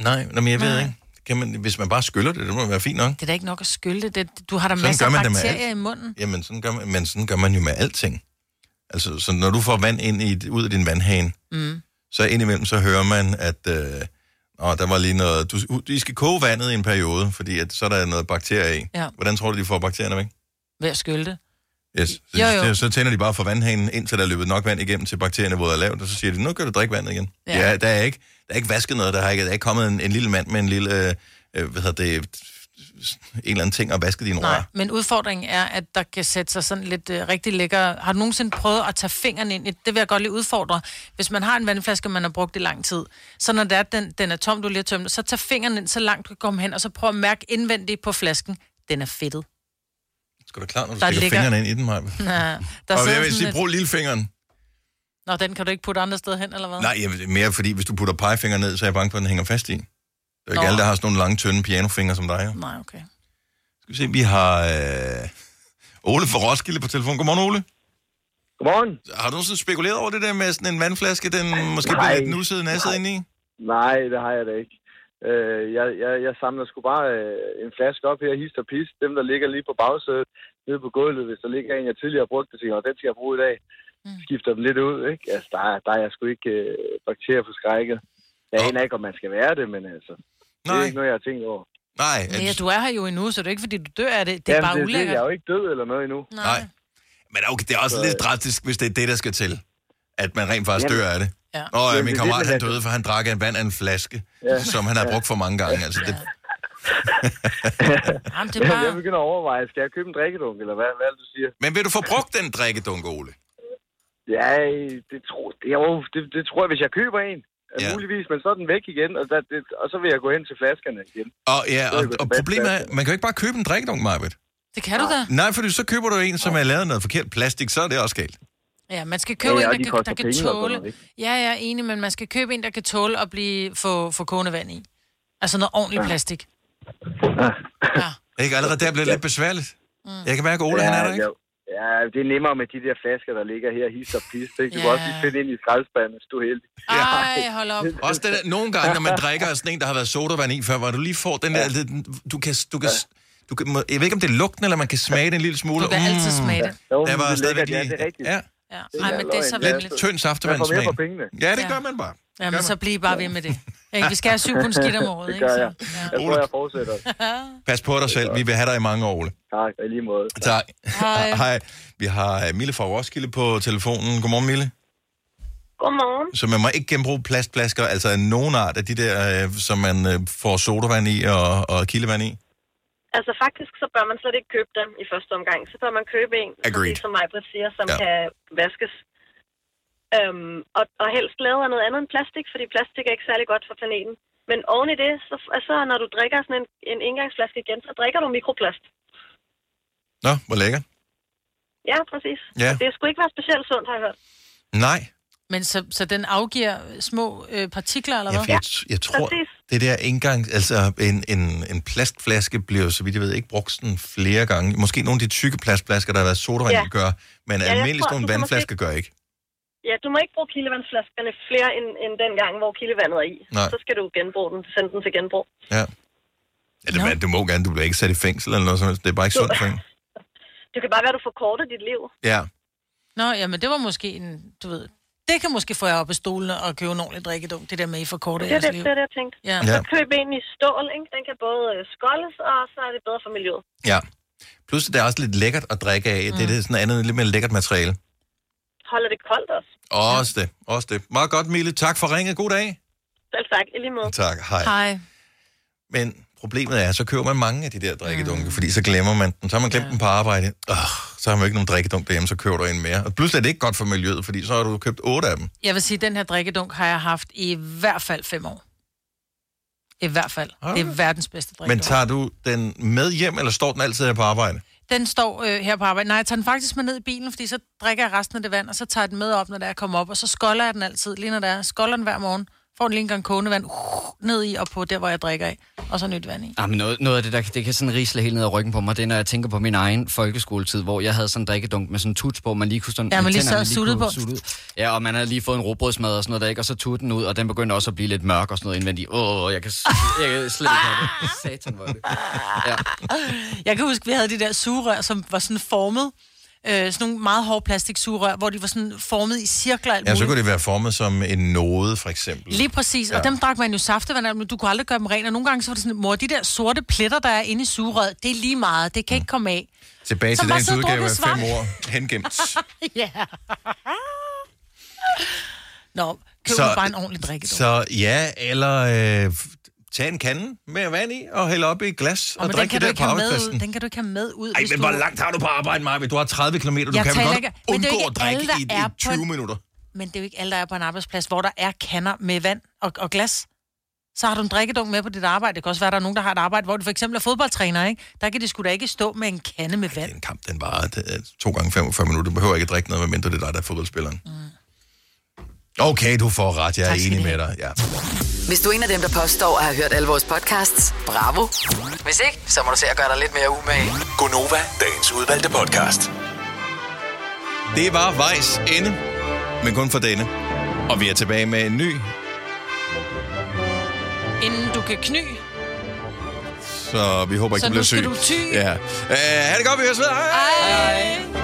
Speaker 1: Nej, nå, men jeg ved
Speaker 2: Nej.
Speaker 1: ikke. Kan man, hvis man bare skyller det, det må være fint nok.
Speaker 2: Det er da ikke nok at skylle det. det du har da
Speaker 1: Sådan
Speaker 2: masser
Speaker 1: gør
Speaker 2: af
Speaker 1: man det med
Speaker 2: bakterier i
Speaker 1: alt.
Speaker 2: munden.
Speaker 1: Jamen, sådan gør man, men sådan gør man jo med alting. Altså, så når du får vand ind i, ud af din vandhane,
Speaker 2: Mm.
Speaker 1: så indimellem så hører man, at øh, åh, der var lige noget... Du, I skal koge vandet i en periode, fordi at, så er der noget bakterier i.
Speaker 2: Ja.
Speaker 1: Hvordan tror du, de får bakterierne væk?
Speaker 2: Ved at skylle det.
Speaker 1: Yes. Så,
Speaker 2: Jo, jo.
Speaker 1: så- så tænder de bare for vandhanen, indtil der er løbet nok vand igennem til bakterierne, hvor der er lavt, og så siger de, nu kan du drikke vandet igen.
Speaker 2: Ja.
Speaker 1: Ja, ja der er ikke. Der er ikke vasket noget, der, har ikke, der er ikke kommet en, en lille mand med en lille, øh, øh, hvad hedder det, en eller anden ting og vasket dine
Speaker 2: Nej,
Speaker 1: rør.
Speaker 2: men udfordringen er, at der kan sætte sig sådan lidt øh, rigtig lækker. Har du nogensinde prøvet at tage fingrene ind? i- Det vil jeg godt lige udfordre. Hvis man har en vandflaske, man har brugt i lang tid, så når det er, den, den er tom, du lige har tømt, så tag fingrene ind, så langt du kan komme hen, og så prøv at mærke indvendigt på flasken. Den er fedtet.
Speaker 1: Skal du klar, når du
Speaker 2: Der
Speaker 1: stikker
Speaker 2: ligger-
Speaker 1: fingrene ind i den, Maja?
Speaker 2: Nå, der
Speaker 1: Og
Speaker 2: sidder
Speaker 1: jeg
Speaker 2: sådan
Speaker 1: vil sige,
Speaker 2: et-
Speaker 1: brug lillefingeren.
Speaker 2: Nå, den kan du ikke putte andre steder hen, eller hvad?
Speaker 1: Nej, jeg, ved- mere fordi, hvis du putter pegefingeren ned, så er jeg bange for, at den hænger fast i. Det er jo ikke
Speaker 2: Nå.
Speaker 1: alle, der har sådan nogle lange, tynde pianofingre som dig. Jo.
Speaker 2: Nej, okay.
Speaker 1: Skal vi se, vi har øh, Ole fra Roskilde på telefon. Godmorgen, Ole.
Speaker 5: Godmorgen.
Speaker 1: Har du nogensinde spekuleret over det der med sådan en vandflaske, den måske
Speaker 5: Nej.
Speaker 1: bliver lidt nusset nasset
Speaker 5: Nej.
Speaker 1: ind i?
Speaker 5: Nej, det har jeg da ikke. Øh, jeg, jeg, jeg samler sgu bare øh, en flaske op her, hist og pis. Dem, der ligger lige på bagsædet, nede på gulvet, hvis der ligger en, jeg tidligere har brugt, og tænker, "Nå, den skal jeg bruge i dag. Skifter dem lidt ud, ikke? Altså, der, er- der er jeg sgu ikke øh, bakterier på skrækket. Jeg aner ikke, om man skal være det, men altså, Nej. det er ikke noget, jeg har tænkt over.
Speaker 1: Nej.
Speaker 2: Men ja, du er her jo endnu, så det er ikke, fordi du dør af det. Det er
Speaker 5: Jamen,
Speaker 2: bare
Speaker 5: det,
Speaker 2: ulækkert.
Speaker 5: Det, jeg er jo ikke død eller noget endnu.
Speaker 2: Nej.
Speaker 1: Nej. Men okay, det er også
Speaker 5: Så-
Speaker 1: lidt drastisk, hvis det er det, der skal til. At man rent faktisk
Speaker 5: Jamen.
Speaker 1: dør af det.
Speaker 2: Ja.
Speaker 1: Og
Speaker 5: Jamen,
Speaker 1: øh,
Speaker 5: det
Speaker 1: min
Speaker 5: er
Speaker 1: kammerat,
Speaker 5: det,
Speaker 1: han
Speaker 5: men
Speaker 1: døde, for han drak en vand af en flaske,
Speaker 5: Ja.
Speaker 1: som han havde
Speaker 5: Ja.
Speaker 1: brugt for mange gange. Altså, det,
Speaker 2: Jamen,
Speaker 5: det er bare... Jeg begynder at overveje, skal jeg købe en drikkedunk, eller hvad, hvad er det, du siger?
Speaker 1: Men vil du få brugt den drikkedunk, Ole?
Speaker 5: Ja, det tror, det, jo, det, det tror jeg, hvis jeg køber en. Ja. Muligvis, men så er den væk igen, og, der, det, og så vil jeg gå hen til flaskerne igen.
Speaker 1: Og, ja,
Speaker 5: Så
Speaker 1: og,
Speaker 5: vil jeg gå tilbage
Speaker 1: og
Speaker 5: til
Speaker 1: problemet er,
Speaker 5: flaskerne.
Speaker 1: man kan jo ikke bare købe en drikkedunk, Marvitt.
Speaker 2: Det kan du da.
Speaker 1: Nej, for så køber du en, som er lavet af noget forkert plastik, så er det også galt.
Speaker 2: Ja, man skal købe
Speaker 5: Ja,
Speaker 2: ja,
Speaker 5: og
Speaker 2: en,
Speaker 5: de
Speaker 2: der, kan,
Speaker 5: koster
Speaker 2: der kan
Speaker 5: penge og sådan noget,
Speaker 2: tåle...
Speaker 5: ikke?
Speaker 2: Ja, ja, enig, men man skal købe en, der kan tåle at blive, få, få kogende vand i. Altså noget ordentligt plastik.
Speaker 1: Ikke allerede der bliver det lidt besværligt.
Speaker 2: Mm.
Speaker 1: Jeg kan mærke, at Ole,
Speaker 5: ja,
Speaker 1: han er der, ikke?
Speaker 5: Ja, ja, det er nemmere med de der flasker, der ligger her, hist og pist. Ikke? Du kan også lige finde ind i skraldespanden, hvis du er heldig.
Speaker 2: Ej, hold op.
Speaker 1: Også det der, nogle gange, når man drikker af sådan en, der har været sodavand i før, hvor du lige får den der... lidt- Du kan, du kan, du kan, må- jeg ved ikke, om det er lugten, eller man kan smage det en lille smule. Mm.
Speaker 2: Du kan altid smage det.
Speaker 1: Der
Speaker 5: Jo, men
Speaker 1: var
Speaker 5: det er
Speaker 1: stadigvæk
Speaker 5: lækkert, ja,
Speaker 1: lige...
Speaker 5: det er rigtigt.
Speaker 1: Ja,
Speaker 2: Ja.
Speaker 5: Det
Speaker 2: Ej,
Speaker 5: er
Speaker 2: men det er så
Speaker 5: løgn.
Speaker 2: vendeligt.
Speaker 5: Ja.
Speaker 1: tynd saftevandssmag.
Speaker 5: Man får mere for pengene.
Speaker 1: Ja, det
Speaker 2: Ja.
Speaker 1: gør man bare.
Speaker 2: Ja, men så bliv bare ved med det. Ikke? Vi skal have syv pund skidt om året,
Speaker 5: Det
Speaker 2: ikke?
Speaker 5: gør
Speaker 2: Så.
Speaker 5: jeg. Jeg tror, jeg fortsætter.
Speaker 1: Pas på dig selv. Vi vil have dig i mange år, Ole.
Speaker 5: Tak, og i lige måde.
Speaker 1: Tak.
Speaker 5: Hej.
Speaker 1: Hej. Vi har øh, Mille fra Roskilde på telefonen. Godmorgen, Mille.
Speaker 21: Godmorgen.
Speaker 1: Så man må ikke genbruge plastflasker, altså af nogen art af de der, øh, som man øh, får sodavand i og, og kildevand i?
Speaker 21: Altså faktisk, så bør man slet ikke købe dem i første omgang. Så bør man købe en,
Speaker 1: Agreed.
Speaker 21: præcis som ligesom mig siger, som
Speaker 1: Ja.
Speaker 21: ja. kan vaskes. Øhm, og, og helst lavet af noget andet end plastik, fordi plastik er ikke særlig godt for planeten. Men oven i det, så, så når du drikker sådan en, en engangsflaske igen, så drikker du mikroplast.
Speaker 1: Nå, hvor lækkert.
Speaker 21: Ja, præcis.
Speaker 1: Ja.
Speaker 21: Det skulle ikke være specielt sundt, har jeg hørt.
Speaker 1: Nej,
Speaker 2: Men så, så den afgiver små øh, partikler, eller
Speaker 1: jeg,
Speaker 2: hvad?
Speaker 1: jeg, jeg tror, det der engang, altså en, en, en plastflaske bliver jo, så vidt jeg ved, ikke brugt sådan flere gange. Måske nogle af de tykke plastflasker, der har været sodavand,
Speaker 21: Ja.
Speaker 1: ja. gør, men
Speaker 21: Ja,
Speaker 1: ja,
Speaker 21: jeg
Speaker 1: almindeligt
Speaker 21: tror,
Speaker 1: sådan
Speaker 21: du
Speaker 1: nogle
Speaker 21: kan
Speaker 1: vandflasker
Speaker 21: måske-
Speaker 1: gør ikke.
Speaker 21: Ja, du må ikke bruge kildevandsflaskerne flere end, end den gang, hvor kildevandet er i.
Speaker 1: Nej.
Speaker 21: Så skal du genbruge den, sende den til genbrug.
Speaker 1: Ja. Eller, man, du må gerne, du bliver ikke sat i fængsel eller noget som helst. Det er bare ikke
Speaker 21: Du-
Speaker 1: sundt for en.
Speaker 21: Det kan bare være, at du forkorter dit liv.
Speaker 1: Ja.
Speaker 2: Nå, jamen det var måske en, du ved... Det kan måske få jer op af stolene og købe en ordentlig drikkedunk, det der med, I forkorter
Speaker 21: Det er
Speaker 2: jeres
Speaker 21: det,
Speaker 2: liv.
Speaker 21: det, er det, jeg tænkte.
Speaker 2: Ja.
Speaker 21: Så
Speaker 1: Ja.
Speaker 21: køb en i stål, ikke? Den kan både øh, skoldes, og så er det bedre for miljøet.
Speaker 1: Ja. Plus, det er også lidt lækkert at drikke af. Mm. Det er det sådan andet, lidt mere lækkert materiale.
Speaker 21: Holder det koldt også.
Speaker 1: Også det, også det. Meget godt, Mille. Tak for ringet. God dag.
Speaker 21: Selv tak, i lige måde.
Speaker 1: Tak, hej. Men problemet er, så køber man mange af de der drikkedunke, mm. fordi så glemmer man den. Så har man glemt ja. den på arbejde. Øh, så har man jo ikke nogen drikkedunk derhjemme, så køber du en mere. Og pludselig er det ikke godt for miljøet, fordi så har du købt otte af dem.
Speaker 2: Jeg vil sige, at den her drikkedunk har jeg haft i hvert fald fem år. I hvert fald. Okay. Det er verdens bedste
Speaker 1: Men
Speaker 2: drikkedunk.
Speaker 1: tager du den med hjem, eller står den altid her på arbejde?
Speaker 2: Den står øh, her på arbejde. Nej, jeg tager den faktisk med ned i bilen, fordi så drikker jeg resten af det vand, og så tager jeg den med op, når det er, jeg kommer op, og så skolder jeg den altid, lige når det er. Skolder den hver morgen, får den lige en gang kogende vand uh, ned i og på der, hvor jeg drikker af, og så nyt vand i.
Speaker 3: Jamen, Ah, noget, noget af det, der det kan sådan risle helt ned ad ryggen på mig, det er, når jeg tænker på min egen folkeskoletid, hvor jeg havde sådan en drikkedunk med sådan en tuts på, man lige kunne sådan...
Speaker 2: Ja, man
Speaker 3: med
Speaker 2: lige sad
Speaker 3: tænderne
Speaker 2: og suttede
Speaker 3: kunne
Speaker 2: på.
Speaker 3: sutte ud. Ja, og man havde lige fået en robrødsmad og sådan noget der, ikke? og så tog den ud, og den begyndte også at blive lidt mørk og sådan noget indvendigt. Åh, oh, jeg kan, s- jeg kan slet ikke have
Speaker 2: Ah.
Speaker 3: det. Satan, hvor er det. Ja.
Speaker 2: Jeg kan huske, vi havde de der sugerør, som var sådan formet, øh, sådan nogle meget hårde plastiksugerør, hvor de var sådan formet i cirkler. alt
Speaker 1: Ja, så
Speaker 2: muligt.
Speaker 1: kunne det være formet som en node, for eksempel.
Speaker 2: Lige præcis, ja.
Speaker 1: Ja.
Speaker 2: og dem drak man jo saftevand af, men du kunne aldrig gøre dem ren, og nogle gange så var det sådan, mor, de der sorte pletter, der er inde i sugerøret, det er lige meget, det kan
Speaker 1: Mm.
Speaker 2: ikke komme af.
Speaker 1: Tilbage
Speaker 2: Som
Speaker 1: til
Speaker 2: bare
Speaker 1: dagens
Speaker 2: sidder og
Speaker 1: udgave af
Speaker 2: drukket
Speaker 1: fem
Speaker 2: svamp.
Speaker 1: år. Hengemt.
Speaker 2: ja. Nå, Køb så, bare en ordentlig drikke. Så,
Speaker 1: Så ja, eller øh, tag en kande med vand i og hælde op i et glas og,
Speaker 2: og
Speaker 1: og
Speaker 2: men den
Speaker 1: drik
Speaker 2: kan,
Speaker 1: det
Speaker 2: du
Speaker 1: der
Speaker 2: ikke
Speaker 1: på
Speaker 2: have med, ud-
Speaker 1: arbejdspladsen.
Speaker 2: den kan du ikke have med ud,
Speaker 1: Ej,
Speaker 2: hvis
Speaker 1: men
Speaker 2: du...
Speaker 1: hvor langt har du på arbejde, Maja? Du har 30 km, du
Speaker 2: Jeg
Speaker 1: kan vel
Speaker 2: taler
Speaker 1: godt
Speaker 2: ikke- men det er jo
Speaker 1: undgå
Speaker 2: ikke
Speaker 1: at drikke
Speaker 2: alle, der
Speaker 1: i, i
Speaker 2: er på
Speaker 1: 20
Speaker 2: en-
Speaker 1: minutter.
Speaker 2: Men det er jo ikke alle, der er på en arbejdsplads, hvor der er kander med vand og, og glas. Så har du en drikkedunk med på dit arbejde. Det kan også være, at der er nogen, der har et arbejde, hvor du for eksempel er fodboldtræner, ikke? Der kan de sgu da ikke stå med en kande med vand.
Speaker 1: En kamp, den varer øh, to gange 45 minutter. Du behøver ikke at drikke noget, medmindre det er dig, der er fodboldspilleren.
Speaker 2: Mm.
Speaker 1: Okay, du får ret. Jeg er enig med dig. Ja.
Speaker 4: Hvis du er en af dem, der påstår at have hørt alle vores podcasts, bravo. Hvis ikke, så må du se at gøre dig lidt mere umage.
Speaker 10: Gonova, dagens udvalgte podcast.
Speaker 1: Det var vejs ende, men kun for denne. Og vi er tilbage med en ny,
Speaker 2: Inden du kan kny.
Speaker 1: så vi håber ikke,
Speaker 2: Så
Speaker 1: du
Speaker 2: nu
Speaker 1: bliver
Speaker 2: skal
Speaker 1: syg. Øh,
Speaker 2: du ty.
Speaker 1: Ja. Uh, ha' det godt, vi høres ved. Hej.
Speaker 2: Ej.